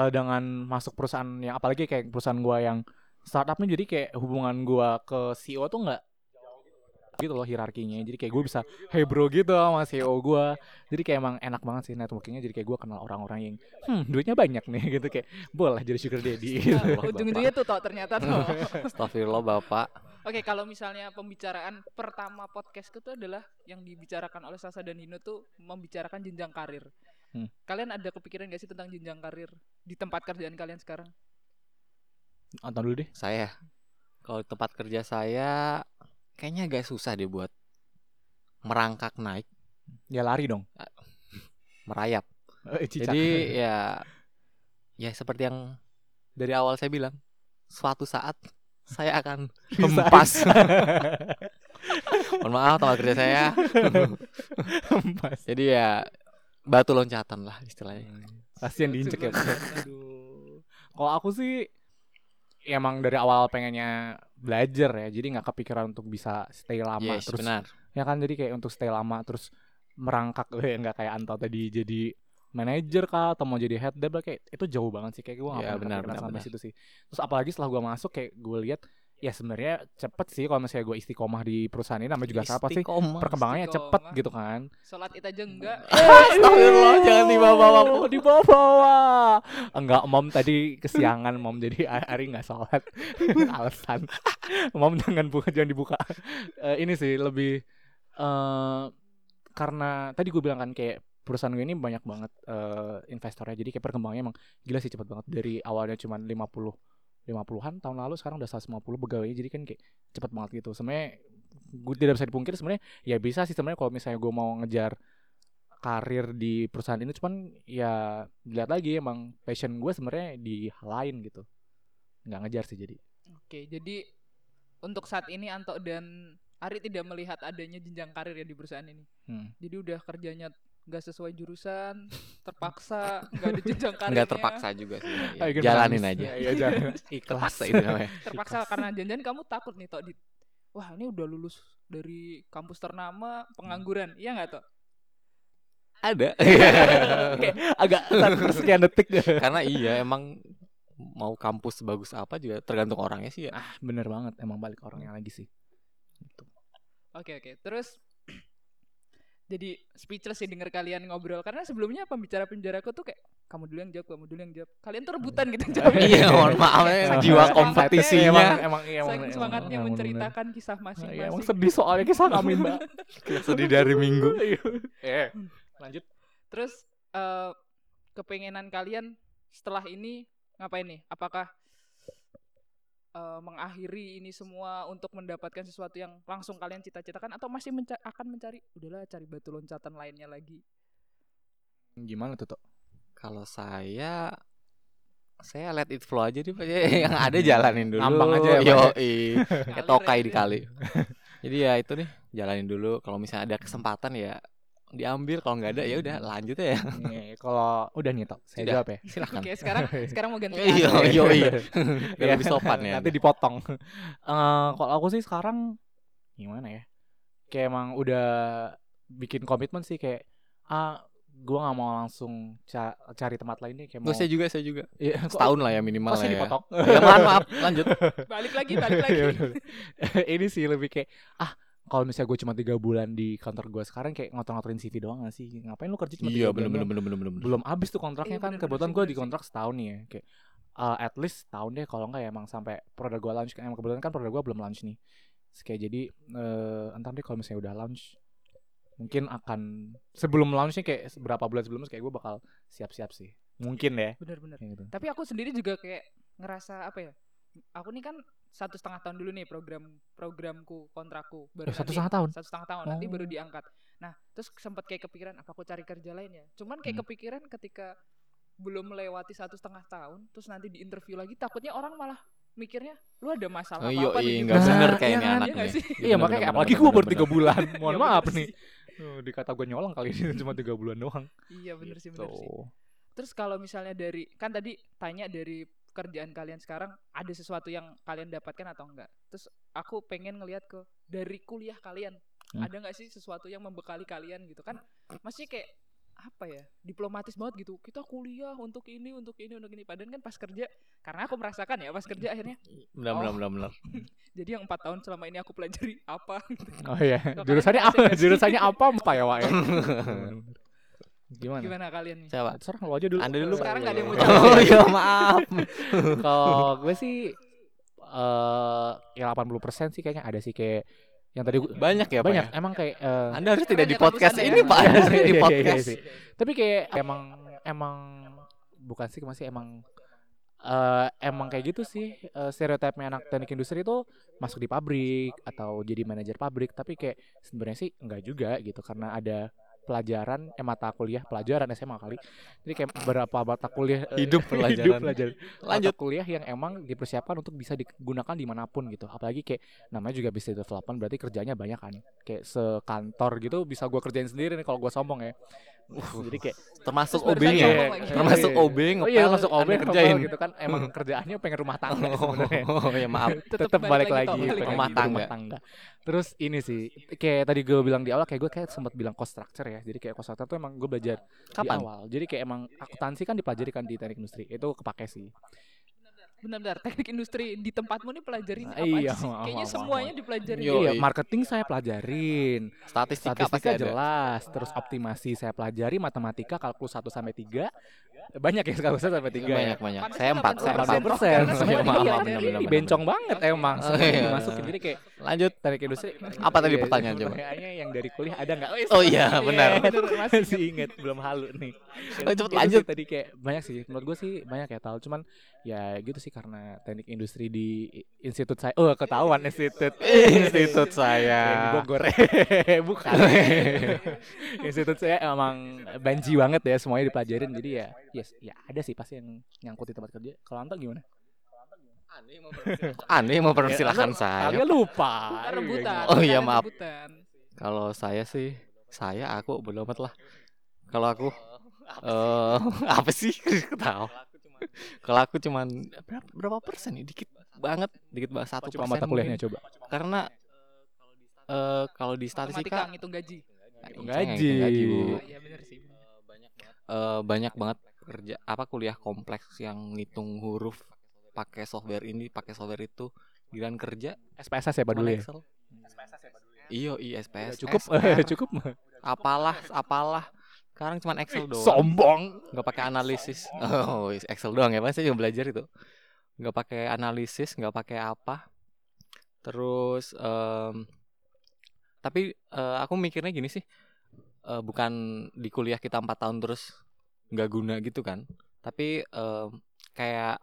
C: eh, dengan masuk perusahaan yang apalagi kayak perusahaan gua yang startupnya jadi kayak hubungan gua ke CEO tuh nggak gitu loh hierarkinya jadi kayak gue bisa hey bro gitu sama CEO gua jadi kayak emang enak banget sih networkingnya jadi kayak gua kenal orang-orang yang hmm duitnya banyak nih gitu kayak boleh jadi sugar daddy gitu.
A: Nah, Ujung-ujungnya tuh toh ternyata toh.
B: Astagfirullah bapak
A: Oke, kalau misalnya pembicaraan pertama podcast itu adalah yang dibicarakan oleh Sasa dan Hino tuh membicarakan jenjang karir.
C: Hmm.
A: Kalian ada kepikiran gak sih tentang jenjang karir di tempat kerjaan kalian sekarang?
C: Anton dulu deh
B: Saya kalau di tempat kerja saya kayaknya agak susah deh buat merangkak naik,
C: ya lari dong
B: merayap.
C: Eh, cicak.
B: Jadi ya ya seperti yang dari awal saya bilang, suatu saat saya akan hempas. Mohon maaf tempat kerja saya.
C: Hempas.
B: Jadi ya batu loncatan lah istilahnya.
C: Kasihan diinjek ya. Aduh. Kalau aku sih ya emang dari awal pengennya belajar ya. Jadi nggak kepikiran untuk bisa stay lama
B: Yes,
C: terus.
B: Iya, benar.
C: Ya kan jadi kayak untuk stay lama terus merangkak eh, nggak kayak Anto tadi jadi manajer kah atau mau jadi head dev lah, kayak itu jauh banget sih kayak gue nggak
B: Ya,
C: pernah
B: benar,
C: kepikiran
B: benar,
C: sampai
B: benar.
C: situ sih terus apalagi setelah gue masuk kayak gue lihat ya sebenarnya cepet sih kalau misalnya gue istiqomah di perusahaan ini namanya juga apa sih
B: Istiqomah.
C: perkembangannya cepet
A: Istiqomah.
C: gitu kan
A: Sholat itu aja enggak.
C: Astagfirullah, jangan dibawa-bawa, Bu. dibawa-bawa. Enggak, Mom tadi kesiangan, Mom jadi hari nggak sholat. Alasan. Mom jangan buka, jangan dibuka. Eh, ini sih lebih eh karena tadi gue bilang kan kayak perusahaan gue ini banyak banget eh, investornya. Jadi kayak perkembangannya emang gila sih cepet banget dari awalnya cuman 50 50-an tahun lalu sekarang udah 150 pegawainya jadi kan kayak cepet banget gitu. Sebenarnya gue tidak bisa dipungkir sebenarnya ya bisa sih sebenarnya kalau misalnya gue mau ngejar karir di perusahaan ini cuman ya dilihat lagi emang passion gue sebenarnya di hal lain gitu nggak ngejar sih jadi
A: Oke, jadi untuk saat ini Anto dan Ari tidak melihat adanya jenjang karir ya di perusahaan ini.
C: Hmm.
A: Jadi udah kerjanya nggak sesuai jurusan, terpaksa, nggak ada jenjang karirnya.
B: Enggak terpaksa juga sih. ya.
C: Ayo,
B: Jalanin
C: nangis.
B: aja.
C: Iya, jalan.
B: Terpaksa itu namanya.
A: terpaksa karena janjian kamu takut nih tok di wah ini udah lulus dari kampus ternama pengangguran iya nggak tok
B: ada
C: Kayak agak satu persekian detik
B: karena iya emang mau kampus sebagus apa juga tergantung orangnya sih ya
C: ah bener banget emang balik orangnya lagi sih
A: Oke oke. Terus jadi speechless sih denger kalian ngobrol karena sebelumnya pembicara penjaraku tuh kayak kamu dulu yang jawab, kamu dulu yang jawab. Kalian tuh rebutan gitu jawabnya.
B: iya mohon maaf ya, jiwa
A: Saking
B: kompetisinya
C: emang iya, emang
A: Saking semangatnya
C: emang- emang
A: menceritakan kisah
C: bener. Iya, emang
A: masing-masing.
C: sedih soalnya kisah kami mbak
B: sedih dari minggu
C: eh lanjut
A: Terus eh, kepengenan kalian setelah ini ngapain nih? Apakah eh, mengakhiri ini semua untuk mendapatkan sesuatu yang langsung kalian cita-citakan atau masih menca- akan mencari udahlah cari batu loncatan lainnya lagi?
C: gimana tuh Tok?
B: kalau saya saya let it flow aja deh Pak. yang ada jalanin dulu
C: Ngampang aja ya, Pak,
B: yo
C: ya.
B: kayak
A: Ngalir
B: tokai
A: aja.
B: dikali jadi ya itu nih jalanin dulu kalau misalnya ada kesempatan ya diambil kalau nggak ada ya udah lanjut ya
C: Nih, kalau udah nih tok saya
B: Udah.
C: jawab ya
B: silakan
A: Oke, sekarang sekarang mau ganti.
B: Iya,
A: Anda.
B: iya, iya.
C: Iya,
B: Biar lebih sopan ya
C: nanti dipotong Eh, kalau aku sih sekarang gimana ya kayak emang udah bikin komitmen sih kayak ah gue nggak mau langsung ca- cari tempat lain deh kayak mau
B: Terus saya juga saya juga
C: Iya, kok-
B: setahun lah ya
C: kok
B: minimal
C: sih
B: lah ya
C: dipotong
B: ya mohon maaf lanjut
A: Balik lagi, balik lagi.
C: Iya, bener. ini sih lebih kayak ah kalau misalnya gue cuma tiga bulan di kantor gue sekarang kayak ngotor-ngotorin CV doang gak sih ngapain lu kerja cuma
B: iya
C: tiga
B: bener
C: bulan doang?
B: bener bener bener bener
C: belum habis tuh kontraknya
A: Iya,
C: kan
A: bener-bener sih,
C: kebetulan gue
A: bener
C: di
A: sih.
C: kontrak setahun nih ya kayak uh, at least setahun deh kalau enggak ya emang sampai produk gue launch emang kebetulan kan produk gue belum launch nih Terus kayak jadi eh entar deh kalau misalnya udah launch mungkin akan sebelum launchnya kayak berapa bulan sebelumnya kayak gue bakal siap-siap sih mungkin ya
A: Benar-benar.
C: kayak gitu
A: Tapi aku sendiri juga kayak ngerasa apa ya? Aku nih kan satu setengah tahun dulu nih program programku kontrakku baru
C: Eh, satu
A: nanti-
C: setengah tahun
A: satu setengah tahun nanti
C: Oh.
A: baru diangkat. Nah terus sempat kayak kepikiran apa aku cari kerja lain ya. Cuman kayak
C: Hmm.
A: kepikiran ketika belum melewati satu setengah tahun terus nanti di interview lagi takutnya orang malah mikirnya lu ada masalah
B: Oh,
A: apa apa
B: yoi,
A: di
B: nggak
A: dunia?"
B: bener
A: Iya
B: kayaknya
A: kan, iya
B: anak
A: nggak
B: ini.
A: sih?
C: Iya
B: Bener,
C: makanya
B: bener,
C: kayak
B: bener,
C: apalagi
B: bener,
C: gue baru
B: bener,
C: tiga bulan. Mohon
A: Iya,
C: maaf
A: bener
C: nih.
A: sih.
C: Duh, dikata gue nyolong kali ini cuma tiga bulan doang.
A: Iya bener sih bener sih.
C: Tuh.
A: Terus kalau misalnya dari kan tadi tanya dari kerjaan kalian sekarang ada sesuatu yang kalian dapatkan atau enggak? Terus aku pengen ngelihat ke dari kuliah kalian
C: Hmm.
A: ada nggak sih sesuatu yang membekali kalian gitu kan? Masih kayak apa ya diplomatis banget gitu kita kuliah untuk ini untuk ini untuk ini padahal kan pas kerja karena aku merasakan ya pas kerja akhirnya
B: bener bener bener bener
A: jadi yang empat tahun selama ini aku pelajari apa
C: Oh iya,
A: kalian
C: jurusannya
A: ngerasa
C: apa?
A: nggak sih?
C: Jurusannya apa Pak ya Wak? ya? Gimana?
A: gimana kalian nih
B: coba
C: Serah lo aja dulu.
B: anda dulu Pak.
A: Sekarang nggak ada yang mau
B: oh iya maaf
C: Kalau gue sih eh ya 80% sih kayaknya ada sih kayak yang tadi gua-
B: banyak ya Pak,
C: banyak
B: ya?
C: emang kayak eh,
B: anda harus tidak
A: Keren
B: di
A: ya
B: podcast
A: tembusannya
B: ini
A: ya.
B: pak
C: Iya,
B: Harusnya
C: iya,
B: di
C: iya, iya,
B: podcast Oh,
C: iya. tapi kayak emang emang bukan sih masih emang eh, emang kayak gitu sih eh, stereotipnya anak teknik industri itu masuk di pabrik atau jadi manajer pabrik tapi kayak sebenarnya sih enggak juga gitu karena ada pelajaran eh mata kuliah pelajaran SMA kali jadi kayak beberapa mata kuliah eh,
B: hidup
C: hidup
B: pelajaran
C: pelajaran
B: lanjut
C: mata kuliah yang emang dipersiapkan untuk bisa digunakan dimanapun gitu apalagi kayak namanya juga business development berarti kerjanya banyak kan kayak sekantor gitu bisa gua kerjain sendiri nih kalau gua sombong ya jadi kayak
B: Uh, termasuk
A: Terus
B: OB
A: barusan
B: nya
A: ngomong lagi.
B: termasuk
C: Iya.
B: OB
C: oh
B: ngepel
C: iya masuk OB
B: Anda
C: ngepel
B: kerjain
C: gitu kan emang kerjaannya pengen rumah tangga sebenarnya Iya,
B: oh ya maaf
C: tetap
A: Tok,
C: balik lagi,
A: balik
C: pengen
B: Rumah
C: di
B: tangga.
C: Terus ini sih kayak tadi gue bilang di awal kayak gue kayak sempat bilang cost structure ya. Jadi kayak cost structure tuh emang gue belajar di
B: kapan
C: awal. Jadi kayak emang akuntansi kan dipelajari kan di teknik industri. Itu kepake sih.
A: benar-benar teknik industri di tempatmu nih pelajarin
C: Nah,
A: apa
C: iya,
A: sih
C: maaf,
A: kayaknya
C: maaf,
A: semuanya dipelajarin
B: Yo,
C: iya,
B: iya.
C: marketing saya pelajarin,
B: statistika, pasti
C: statistika
B: ada
C: jelas, terus optimasi saya pelajari, matematika kalkulus 1 sampai 3. Banyak ya kalkulus 1 sampai 3 ya.
B: banyak banyak saya empat saya empat
A: 80%.
C: 80
A: persen.
C: persen,
A: Karena
B: Iya,
A: semua
B: maaf,
A: iya, dari
B: maaf, benar, benar, benar.
C: bencong banget emang
B: Oke.
C: semuanya dimasukin jadi kayak
B: lanjut
C: teknik industri
B: Apa tadi
C: Iya,
B: pertanyaan coba?
C: pertanyaannya yang dari kuliah ada nggak Wes,
B: oh iya benar
C: Iya, bener, masih inget belum halu nih
B: Oh, cepet
C: Itu sih
B: lanjut.
C: tadi kayak banyak sih menurut gue sih banyak ya tal cuman ya gitu sih karena teknik industri di institut saya oh ketahuan institut
B: institut
C: yang di
B: saya
C: Bogor bukan institut saya emang banji banget ya semuanya dipelajarin jadi ya yes ya ada sih pasti yang nyangkut di tempat kerja kalau anto gimana iya.
B: aneh mau persilahkan saya
C: kalian lupa
A: Kita rebutan
B: Oh, iya,
A: kalian
B: maaf.
A: rebutan.
B: kalau saya sih saya aku belum lah kalau aku eh apa sih ketawa kalau aku cuman berapa, berapa persen ya dikit banget dikit banget satu
C: coba
B: persen
C: mata
B: mungkin.
C: kuliahnya coba
B: karena eh kalau di
A: Matematika
B: statistika
A: ngitung gaji. gitu.
B: Enggak,
C: Gaji.
B: nggak gaji, Bu.
A: Oh, iya bener sih.
B: Eh, banyak banget kerja apa kuliah kompleks yang ngitung huruf pakai software ini pakai software itu giliran kerja
C: SPSS ya Pak
B: cuma
C: dulu ya.
B: Excel. Iyo
C: Udah
B: ISPS.
C: Cukup,
B: SR,
C: cukup.
B: Apalah, apalah. Sekarang cuma Excel doang.
C: Sombong.
B: nggak pakai analisis oh Excel doang ya pasti juga belajar itu nggak pakai analisis nggak pakai apa terus em, tapi eh, aku mikirnya gini sih eh, bukan di kuliah kita empat tahun terus nggak guna gitu kan tapi em, kayak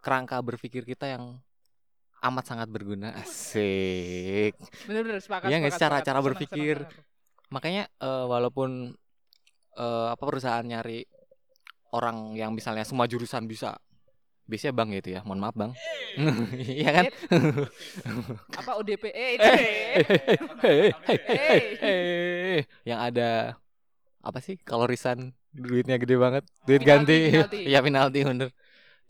B: kerangka berpikir kita yang amat sangat berguna asik
A: Bener-bener sepakat.
B: Iya
A: sepakat,
B: nggak sih, cara-
A: sepakat.
B: cara
A: Senang,
B: berpikir.
A: senang, senang.
B: makanya eh, walaupun eh, apa perusahaan nyari orang yang misalnya semua jurusan bisa biasanya bang gitu ya mohon maaf bang iya kan
A: Apa ODP? Eh, itu deh.
B: Hei, hei,
A: Hey.
B: hei. yang ada apa sih kalau risan duitnya gede banget duit
A: Penalti, penalti.
B: ganti ya penalti bener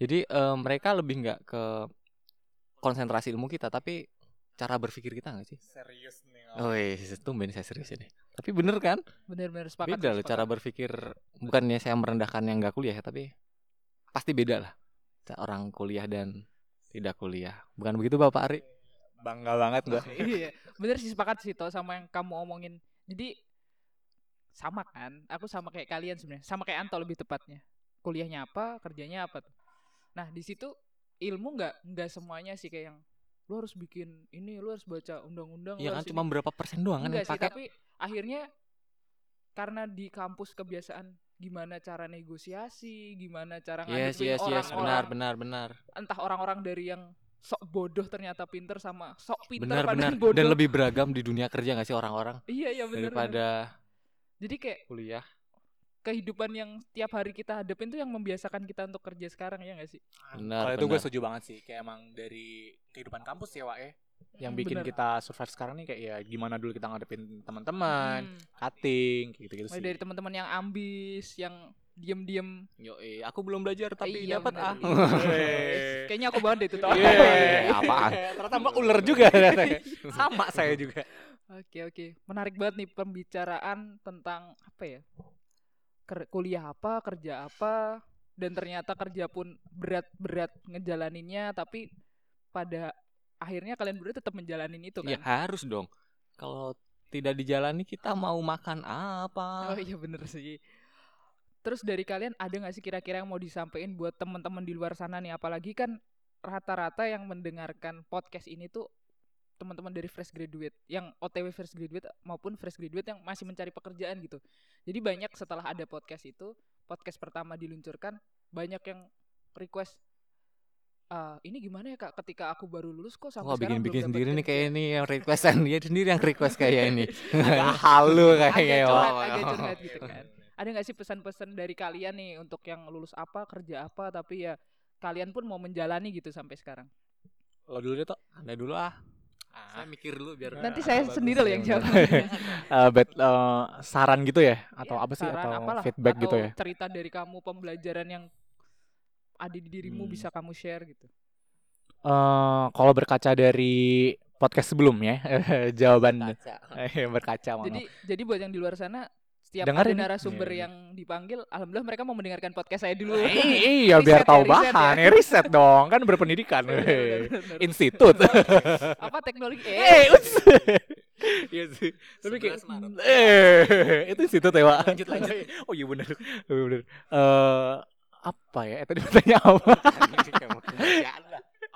B: jadi eh, mereka lebih nggak ke konsentrasi ilmu kita tapi cara berpikir kita nggak sih
C: Serius nih.
B: oh iya tumben saya serius ini tapi bener kan
A: Bener-bener sepakat.
B: beda loh
A: sepakat.
B: cara berpikir bukannya saya merendahkan yang nggak kuliah ya tapi pasti beda lah Ca- orang kuliah dan tidak kuliah bukan begitu bapak Ari
C: Bangga banget gua.
A: iya bener sih sepakat sih toh sama yang kamu omongin jadi sama kan aku sama kayak kalian sebenarnya sama kayak Anto lebih tepatnya kuliahnya apa kerjanya apa tuh nah di situ ilmu nggak nggak semuanya sih kayak yang lu harus bikin ini lu harus baca undang-undang
B: ya
A: lu
B: kan
A: harus
B: cuma
A: ini."
B: berapa persen doang kan
A: Enggak
B: yang
A: sih
B: pakai
A: tapi akhirnya karena di kampus kebiasaan gimana cara negosiasi gimana cara
B: yes
A: ngadepin
B: yes yes benar
A: orang-orang-
B: benar benar
A: entah orang-orang dari yang sok bodoh ternyata pinter sama sok pinter
B: benar benar
A: padahal bodoh
B: dan lebih beragam di dunia kerja nggak sih orang-orang
A: Iya iya benar.
B: daripada
A: Jadi kayak
B: kuliah
A: kehidupan yang tiap hari kita hadapin tuh yang membiasakan kita untuk kerja sekarang ya gak sih?
B: benar
C: Kalau itu gue
B: benar.
C: setuju banget sih. Kayak emang dari kehidupan kampus ya, Wak ya. Yang
A: Mm,
C: bikin
A: benar.
C: kita survive sekarang nih kayak ya gimana dulu kita ngadepin teman-teman,
A: Hmm.
C: cutting, kayak gitu-gitu
A: Mulai
C: sih.
A: dari teman-teman yang ambis, yang diem-diem.
B: Yoi, aku belum belajar tapi
A: Iya,
B: dapat
A: benar.
B: ah
C: Wes.
A: Kayaknya aku banget deh
C: Iya. gitu.
A: itu. Toh. Iya.
B: Yeay, apaan?
C: Ternyata Mbak ular juga. Sama saya juga.
A: Oke oke. Menarik banget nih pembicaraan tentang apa ya? Ker- kuliah apa, kerja apa, dan ternyata kerja pun berat-berat ngejalaninnya, tapi pada akhirnya kalian berdua tetap menjalanin itu
B: ya
A: kan?
B: harus dong kalau tidak dijalani kita mau makan
A: Oh
B: apa
A: iya bener sih. Terus dari kalian ada nggak sih kira-kira yang mau disampaikan buat teman-teman di luar sana nih? Apalagi kan rata-rata yang mendengarkan podcast ini tuh teman-teman dari fresh graduate, yang OTW fresh graduate maupun fresh graduate yang masih mencari pekerjaan gitu. Jadi banyak setelah ada podcast itu, podcast pertama diluncurkan, banyak yang request "Ah, ini gimana ya kak ketika aku baru lulus kok sampai
B: Wah
A: sekarang
B: bikin bikin
A: belum dapat
B: sendiri nih
A: kerja?"
B: kayak ini yang requestan dia sendiri yang request kayak ini.
C: Agak halu
A: Agak
B: Kayak
A: curhat,
B: wow.
A: agak curhat gitu kan. Ada nggak sih pesan-pesan dari kalian nih untuk yang lulus apa, kerja apa, tapi ya kalian pun mau menjalani gitu sampai sekarang.
C: Lo dulu deh, Tok.
B: Anda dulu ah. Saya mikir dulu biar.
A: Nanti saya sendiri loh yang jawab.
C: Eh, bet- eh, saran gitu ya atau
A: Ya,
C: apa sih
A: saran
C: atau
A: apalah,
C: feedback
A: atau
C: gitu ya
A: Cerita dari kamu, pembelajaran yang ada di dirimu
C: Hmm.
A: bisa kamu share gitu.
C: Eh, kalau berkaca dari podcast sebelumnya jawaban eh, berkaca mohon
A: Jadi
C: maaf.
A: jadi buat yang di luar sana setiap
C: Dengar
A: ada
C: ini.
A: narasumber
C: Iya.
A: yang dipanggil, alhamdulillah mereka mau mendengarkan podcast saya dulu.
C: Eh, iya
A: Riset
C: biar
A: ya,
C: tahu
A: riset
C: bahan
A: ya.
C: Eh, riset dong kan berpendidikan
A: Bener, bener,
C: Eh,
A: bener.
C: institut
A: apa teknologi?
C: eh
A: Eh,
C: uts. Iya sih tapi kayak eh itu institut ya Wak?
B: Lanjut, lanjut.
C: oh iya benar oh, iya benar Eh, apa ya Eh, tadi bertanya apa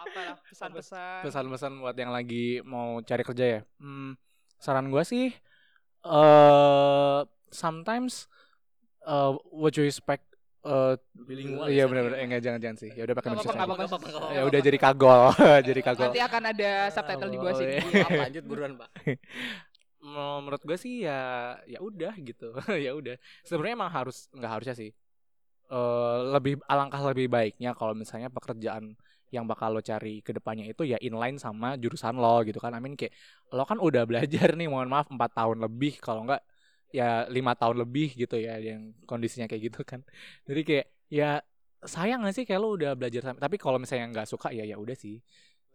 A: apalah pesan-pesan.
C: pesan-pesan buat yang lagi mau cari kerja ya hmm, saran gua sih eh sometimes eh, what you expect eh
B: Bilingual
C: iya
B: ya,
C: benar-benar
B: Sarah.
C: eh, nggak jangan jangan sih ya udah pakai
A: Nggak
C: bahasa
A: apa-apa,
C: Inggris
A: nggak
C: aja.
A: apa-apa, nggak
C: ya
A: apa-apa.
C: udah jadi Ya kagol jadi kagol
A: Nanti akan ada subtitle di bawah sini.
C: Boleh.
A: Iya.
B: Lanjut buruan pak.
C: Mau- menurut gue sih ya ya udah gitu ya udah sebenarnya emang harus nggak harusnya sih Eh, lebih alangkah lebih baiknya kalau misalnya pekerjaan yang bakal lo cari ke depannya itu ya inline sama jurusan lo gitu kan I mean kayak lo kan udah belajar nih mohon maaf 4 tahun lebih kalau nggak ya lima tahun lebih gitu ya yang kondisinya kayak gitu kan jadi kayak ya sayang gak sih kayak lo udah belajar sama- tapi kalau misalnya nggak suka ya ya udah sih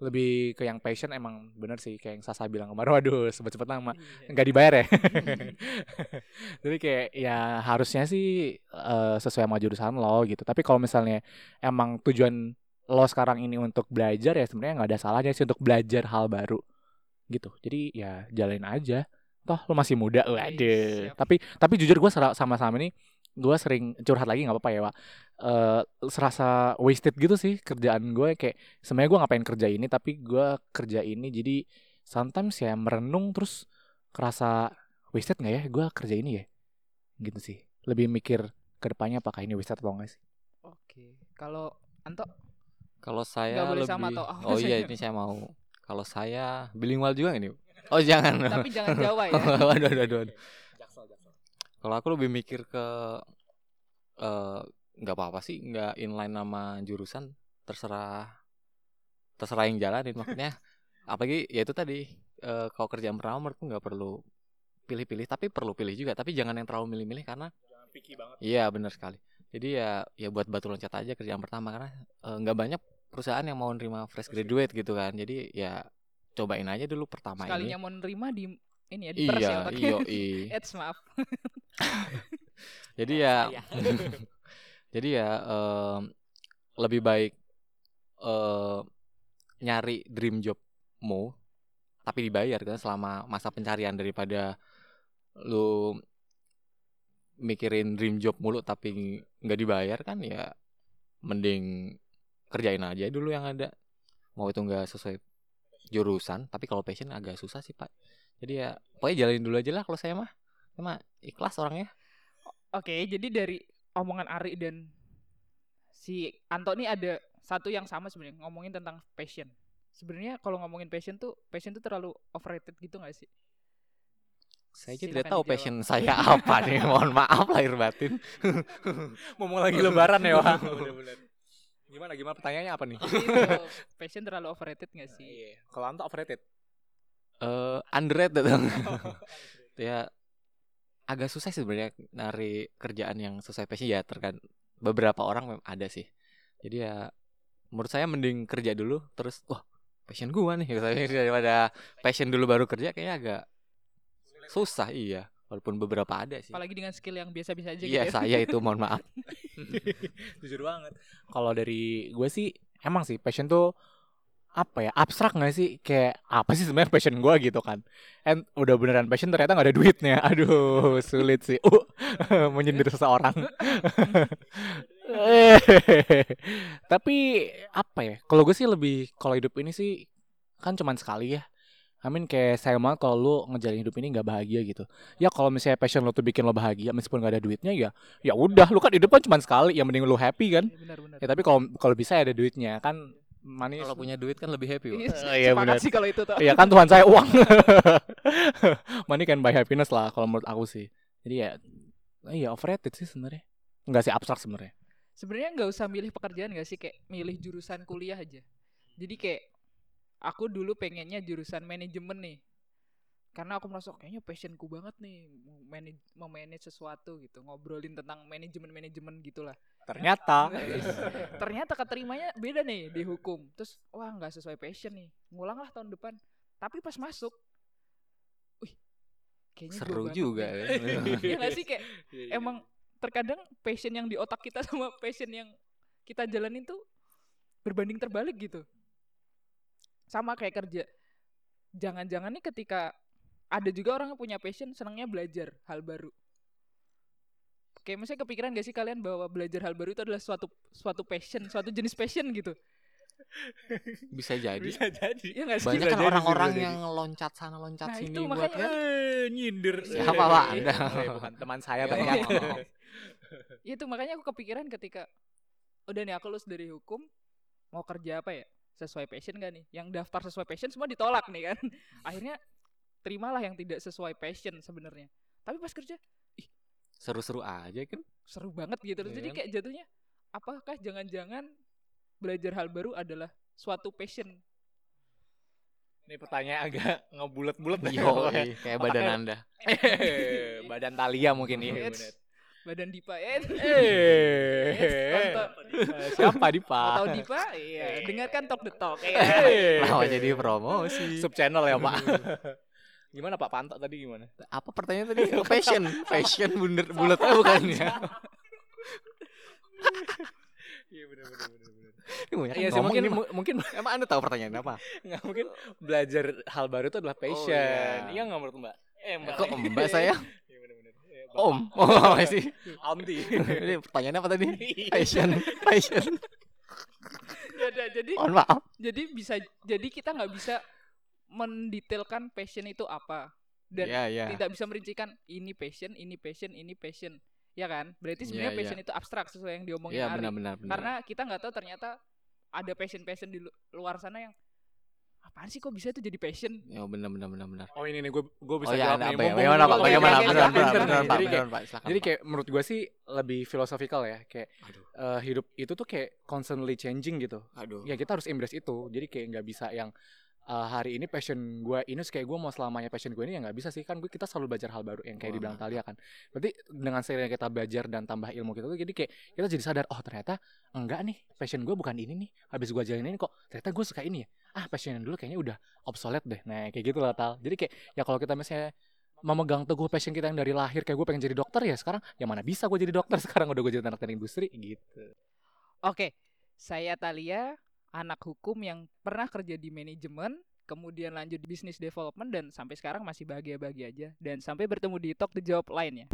C: lebih ke yang passion emang bener sih kayak yang Sasa bilang kemarin waduh sebut-sebut nama nggak dibayar ya jadi kayak ya harusnya sih eh, sesuai sama jurusan lo gitu tapi kalau misalnya emang tujuan lo sekarang ini untuk belajar ya sebenarnya nggak ada salahnya sih untuk belajar hal baru gitu jadi ya jalanin aja toh lo masih muda waduh
A: siap.
C: tapi tapi jujur gue sama sama ini gue sering curhat lagi nggak apa-apa ya pak Eh, serasa wasted gitu sih kerjaan gue kayak sebenarnya gue ngapain kerja ini tapi gue kerja ini jadi sometimes ya merenung terus kerasa wasted nggak ya gue kerja ini ya gitu sih lebih mikir ke depannya apakah ini wasted atau enggak sih
A: Oke. Kalau Anto
B: Kalau saya
A: Nggak boleh
B: lebih
A: sama toh.
B: Oh iya ini saya mau. Kalau saya bilingual juga ini. Oh jangan. Oh,
A: tapi jangan Jawa ya.
B: waduh, waduh, waduh, waduh. Kalau aku lebih mikir ke eh, nggak apa-apa sih, nggak inline nama jurusan, terserah terserah yang jalanin maksudnya. Apalagi ya itu tadi eh, kalau kerjaan pertama menurutku nggak perlu pilih-pilih, tapi perlu pilih juga, tapi jangan yang terlalu milih-milih karena Iya benar sekali. Jadi ya ya buat batu loncat aja kerjaan pertama karena eh, nggak banyak perusahaan yang mau nerima fresh graduate gitu kan. Jadi ya cobain aja dulu pertama
A: Sekalinya
B: ini.
A: mau nerima di ini ya di pers ya
B: Iya,
A: otaknya.
B: iya, iya.
A: Eits, maaf.
B: Jadi ya, jadi ya em, lebih baik eh, nyari dream jobmu tapi dibayar kan selama masa pencarian daripada lu mikirin dream job mulu tapi nggak dibayar kan ya mending kerjain aja dulu yang ada mau itu nggak sesuai jurusan tapi kalau passion agak susah sih pak jadi ya pokoknya jalanin dulu aja lah kalau saya mah saya mah ikhlas orangnya
A: Oke, jadi dari omongan Ari dan si Anto nih ada satu yang sama sebenarnya ngomongin tentang passion. Sebenarnya kalau ngomongin passion tuh passion tuh terlalu overrated gitu gak sih?
B: Saya aja
A: Silakan
B: tidak tahu
A: dijawab.
B: passion saya apa nih. Mohon maaf lahir batin.
C: mau lagi lebaran ya pak gimana gimana pertanyaannya apa nih
A: Itu, passion terlalu overrated gak sih?
C: Iya. Kalau Anto overrated.
B: Eh underrated dong. ya agak susah sih sebenarnya nari kerjaan yang sesuai passion ya terkan beberapa orang memang ada sih. Jadi ya menurut saya mending kerja dulu terus wah passion gua nih Saya pikir daripada passion dulu baru kerja kayaknya agak
C: ya.
B: susah iya walaupun beberapa ada sih.
A: Apalagi dengan skill yang biasa-biasa aja
B: Iya
A: gitu. ya.
B: saya itu mohon maaf.
C: Jujur banget. Kalau dari gue sih emang sih passion tuh apa ya abstrak gak sih kayak apa sih sebenarnya passion gue gitu kan and udah beneran passion ternyata nggak ada duitnya aduh sulit sih uh menyindir seseorang tapi apa ya kalau gue sih lebih kalau hidup ini sih kan cuman sekali ya Amin kayak sayang banget kalau lu ngejalanin hidup ini nggak bahagia gitu. Ya kalau misalnya passion lo tuh bikin lo bahagia meskipun gak ada duitnya ya ya udah lu kan hidup kan cuma sekali ya mending lu happy kan.
A: Iya, Benar-benar.
C: Ya tapi kalau kalau bisa ada duitnya kan manis.
B: Kalau punya duit kan lebih happy. Wak.
A: Iya,
C: Oh, iya,
A: sepakat
C: benar.
A: sih kalau itu tuh.
C: Iya kan Tuhan saya uang. Money can buy happiness lah kalau menurut aku sih. Jadi ya iya overrated sih sebenarnya. Enggak sih abstrak sebenarnya.
A: sebenarnya nggak usah milih pekerjaan nggak sih kayak milih jurusan kuliah aja jadi kayak aku dulu pengennya jurusan manajemen nih karena aku merasa "Oh, kayaknya passionku banget nih mau manage memanage sesuatu gitu ngobrolin tentang manajemen manajemen gitulah
C: Ternyata
A: ternyata keterimanya beda nih di hukum terus wah nggak sesuai passion nih ngulang lah tahun depan tapi pas masuk wih kayaknya gua
B: Seru
A: banget
B: juga.
A: nih.
B: ya.
A: Iya nggak sih kayak emang terkadang passion yang di otak kita sama passion yang kita jalanin tuh berbanding terbalik gitu. Sama kayak kerja. Jangan-jangan nih ketika ada juga orang yang punya passion senangnya belajar hal baru. Kayak misalnya kepikiran gak sih kalian bahwa belajar hal baru itu adalah suatu suatu passion, suatu jenis passion gitu.
B: Bisa jadi.
C: jadi.
A: Iya gak sih?
B: banyak kan
C: jadi,
B: orang-orang
C: bisa jadi.
B: yang loncat sana loncat
A: Nah,
B: sini
A: itu
B: buat kan.
A: makanya.
C: Eh, nyindir.
B: Siapa, Pak, Anda?
C: Eh, bukan teman saya Iya,
B: Ya,
C: ternyata.
B: maaf.
A: Iya tuh makanya aku kepikiran ketika udah nih aku lulus dari hukum mau kerja apa ya sesuai passion gak nih? Yang daftar sesuai passion semua ditolak nih kan. Akhirnya terimalah yang tidak sesuai passion sebenarnya. Tapi pas kerja
B: seru-seru aja kan
A: seru banget gitu. Terus
B: Iya
A: Jadi
B: kan?
A: kayak jatuhnya apakah jangan-jangan belajar hal baru adalah suatu passion?
C: Ini pertanyaan agak ngebulet-bulet dah
B: yo
C: Iya, pokoknya.
B: kayak badan
C: Otaknya-
B: anda
C: Badan Talia mungkin iya.
A: Eits,
C: bener.
A: kan? Badan Dipa ya.
B: Iya.
C: Eh,
A: Tonton.
C: siapa di
A: Atau
C: Pak?
A: Dipa, iya. Dengarkan Talk the Talk ya.
C: Eh,
B: Kenapa jadi promosi?
C: sub channel ya Pak. gimana Pak Pantok tadi gimana?
B: Apa pertanyaan tadi? Fashion, fashion bunder bulatnya bukan ya?
C: Iya benar benar benar.
B: Ini banyak
C: Iya
B: yang
C: sih
B: ngomong
C: mungkin
B: nih,
C: mu- mungkin
B: Mak. emang anda tahu pertanyaan apa?
C: nggak mungkin belajar hal baru itu adalah passion.
B: iya.
C: Iya nggak menurut Mbak? Eh
B: Kok Mbak saya?
C: Iya benar benar.
B: Om, oh sih.
C: Anti.
B: Ini pertanyaan apa tadi?
C: Iya.
B: Fashion, fashion.
A: Yaudah, jadi
B: Mohon maaf.
A: jadi bisa jadi kita nggak bisa mendetailkan passion itu apa dan
B: Iya, iya.
A: tidak bisa merincikan ini passion, ini passion, ini passion. Ya kan? Berarti
B: Iya,
A: sebenarnya
B: iya.
A: passion itu abstrak sesuai yang diomongin
B: Iya,
A: Ari.
B: benar-benar. benar.
A: Karena kita nggak tahu ternyata ada passion-passion di lu- luar sana yang apaan sih kok bisa itu jadi passion?
B: Ya benar benar benar benar.
C: Oh ini nih gue gue bisa
B: oh ya,
C: jawab
B: anda
C: nih.
B: apa ya?
C: Mumpung-
B: Bagaimana Pak?
A: mumpung-
B: Bagaimana?
A: mumpung-
B: Beneran, beneran,
A: mumpung-
B: beneran, Pak.
A: jadi
B: Beneran, Pak. Silakan.
C: Iya, Jadi
B: Pak.
C: kayak menurut gue sih lebih filosofikal ya kayak
B: Aduh.
C: eh, hidup itu tuh kayak constantly changing gitu.
B: aduh.
C: Ya kita harus embrace itu. Jadi kayak nggak bisa yang eh, hari ini passion gue ini terus kayak gue mau selamanya passion gue ini ya nggak bisa sih kan gue kita selalu belajar hal baru yang kayak
B: Wah,
C: dibilang Talia kan. Berarti dengan seiringnya kita belajar dan tambah ilmu kita tuh jadi kayak kita jadi sadar oh ternyata enggak nih passion gue bukan ini nih. Habis gue jalanin ini kok ternyata gue suka ini ya. Ah passion yang dulu kayaknya udah obsolete deh. Nah kayak gitu lah Tal. Jadi kayak ya kalau kita misalnya memegang teguh passion kita yang dari lahir kayak gue pengen jadi dokter ya sekarang ya mana bisa gue jadi dokter sekarang udah gue jadi anak teknik industri gitu
A: Oke, saya Talia, anak hukum yang pernah kerja di manajemen, kemudian lanjut di business development dan sampai sekarang masih bahagia-bahagia aja. Dan sampai bertemu di Talk the Job lainnya.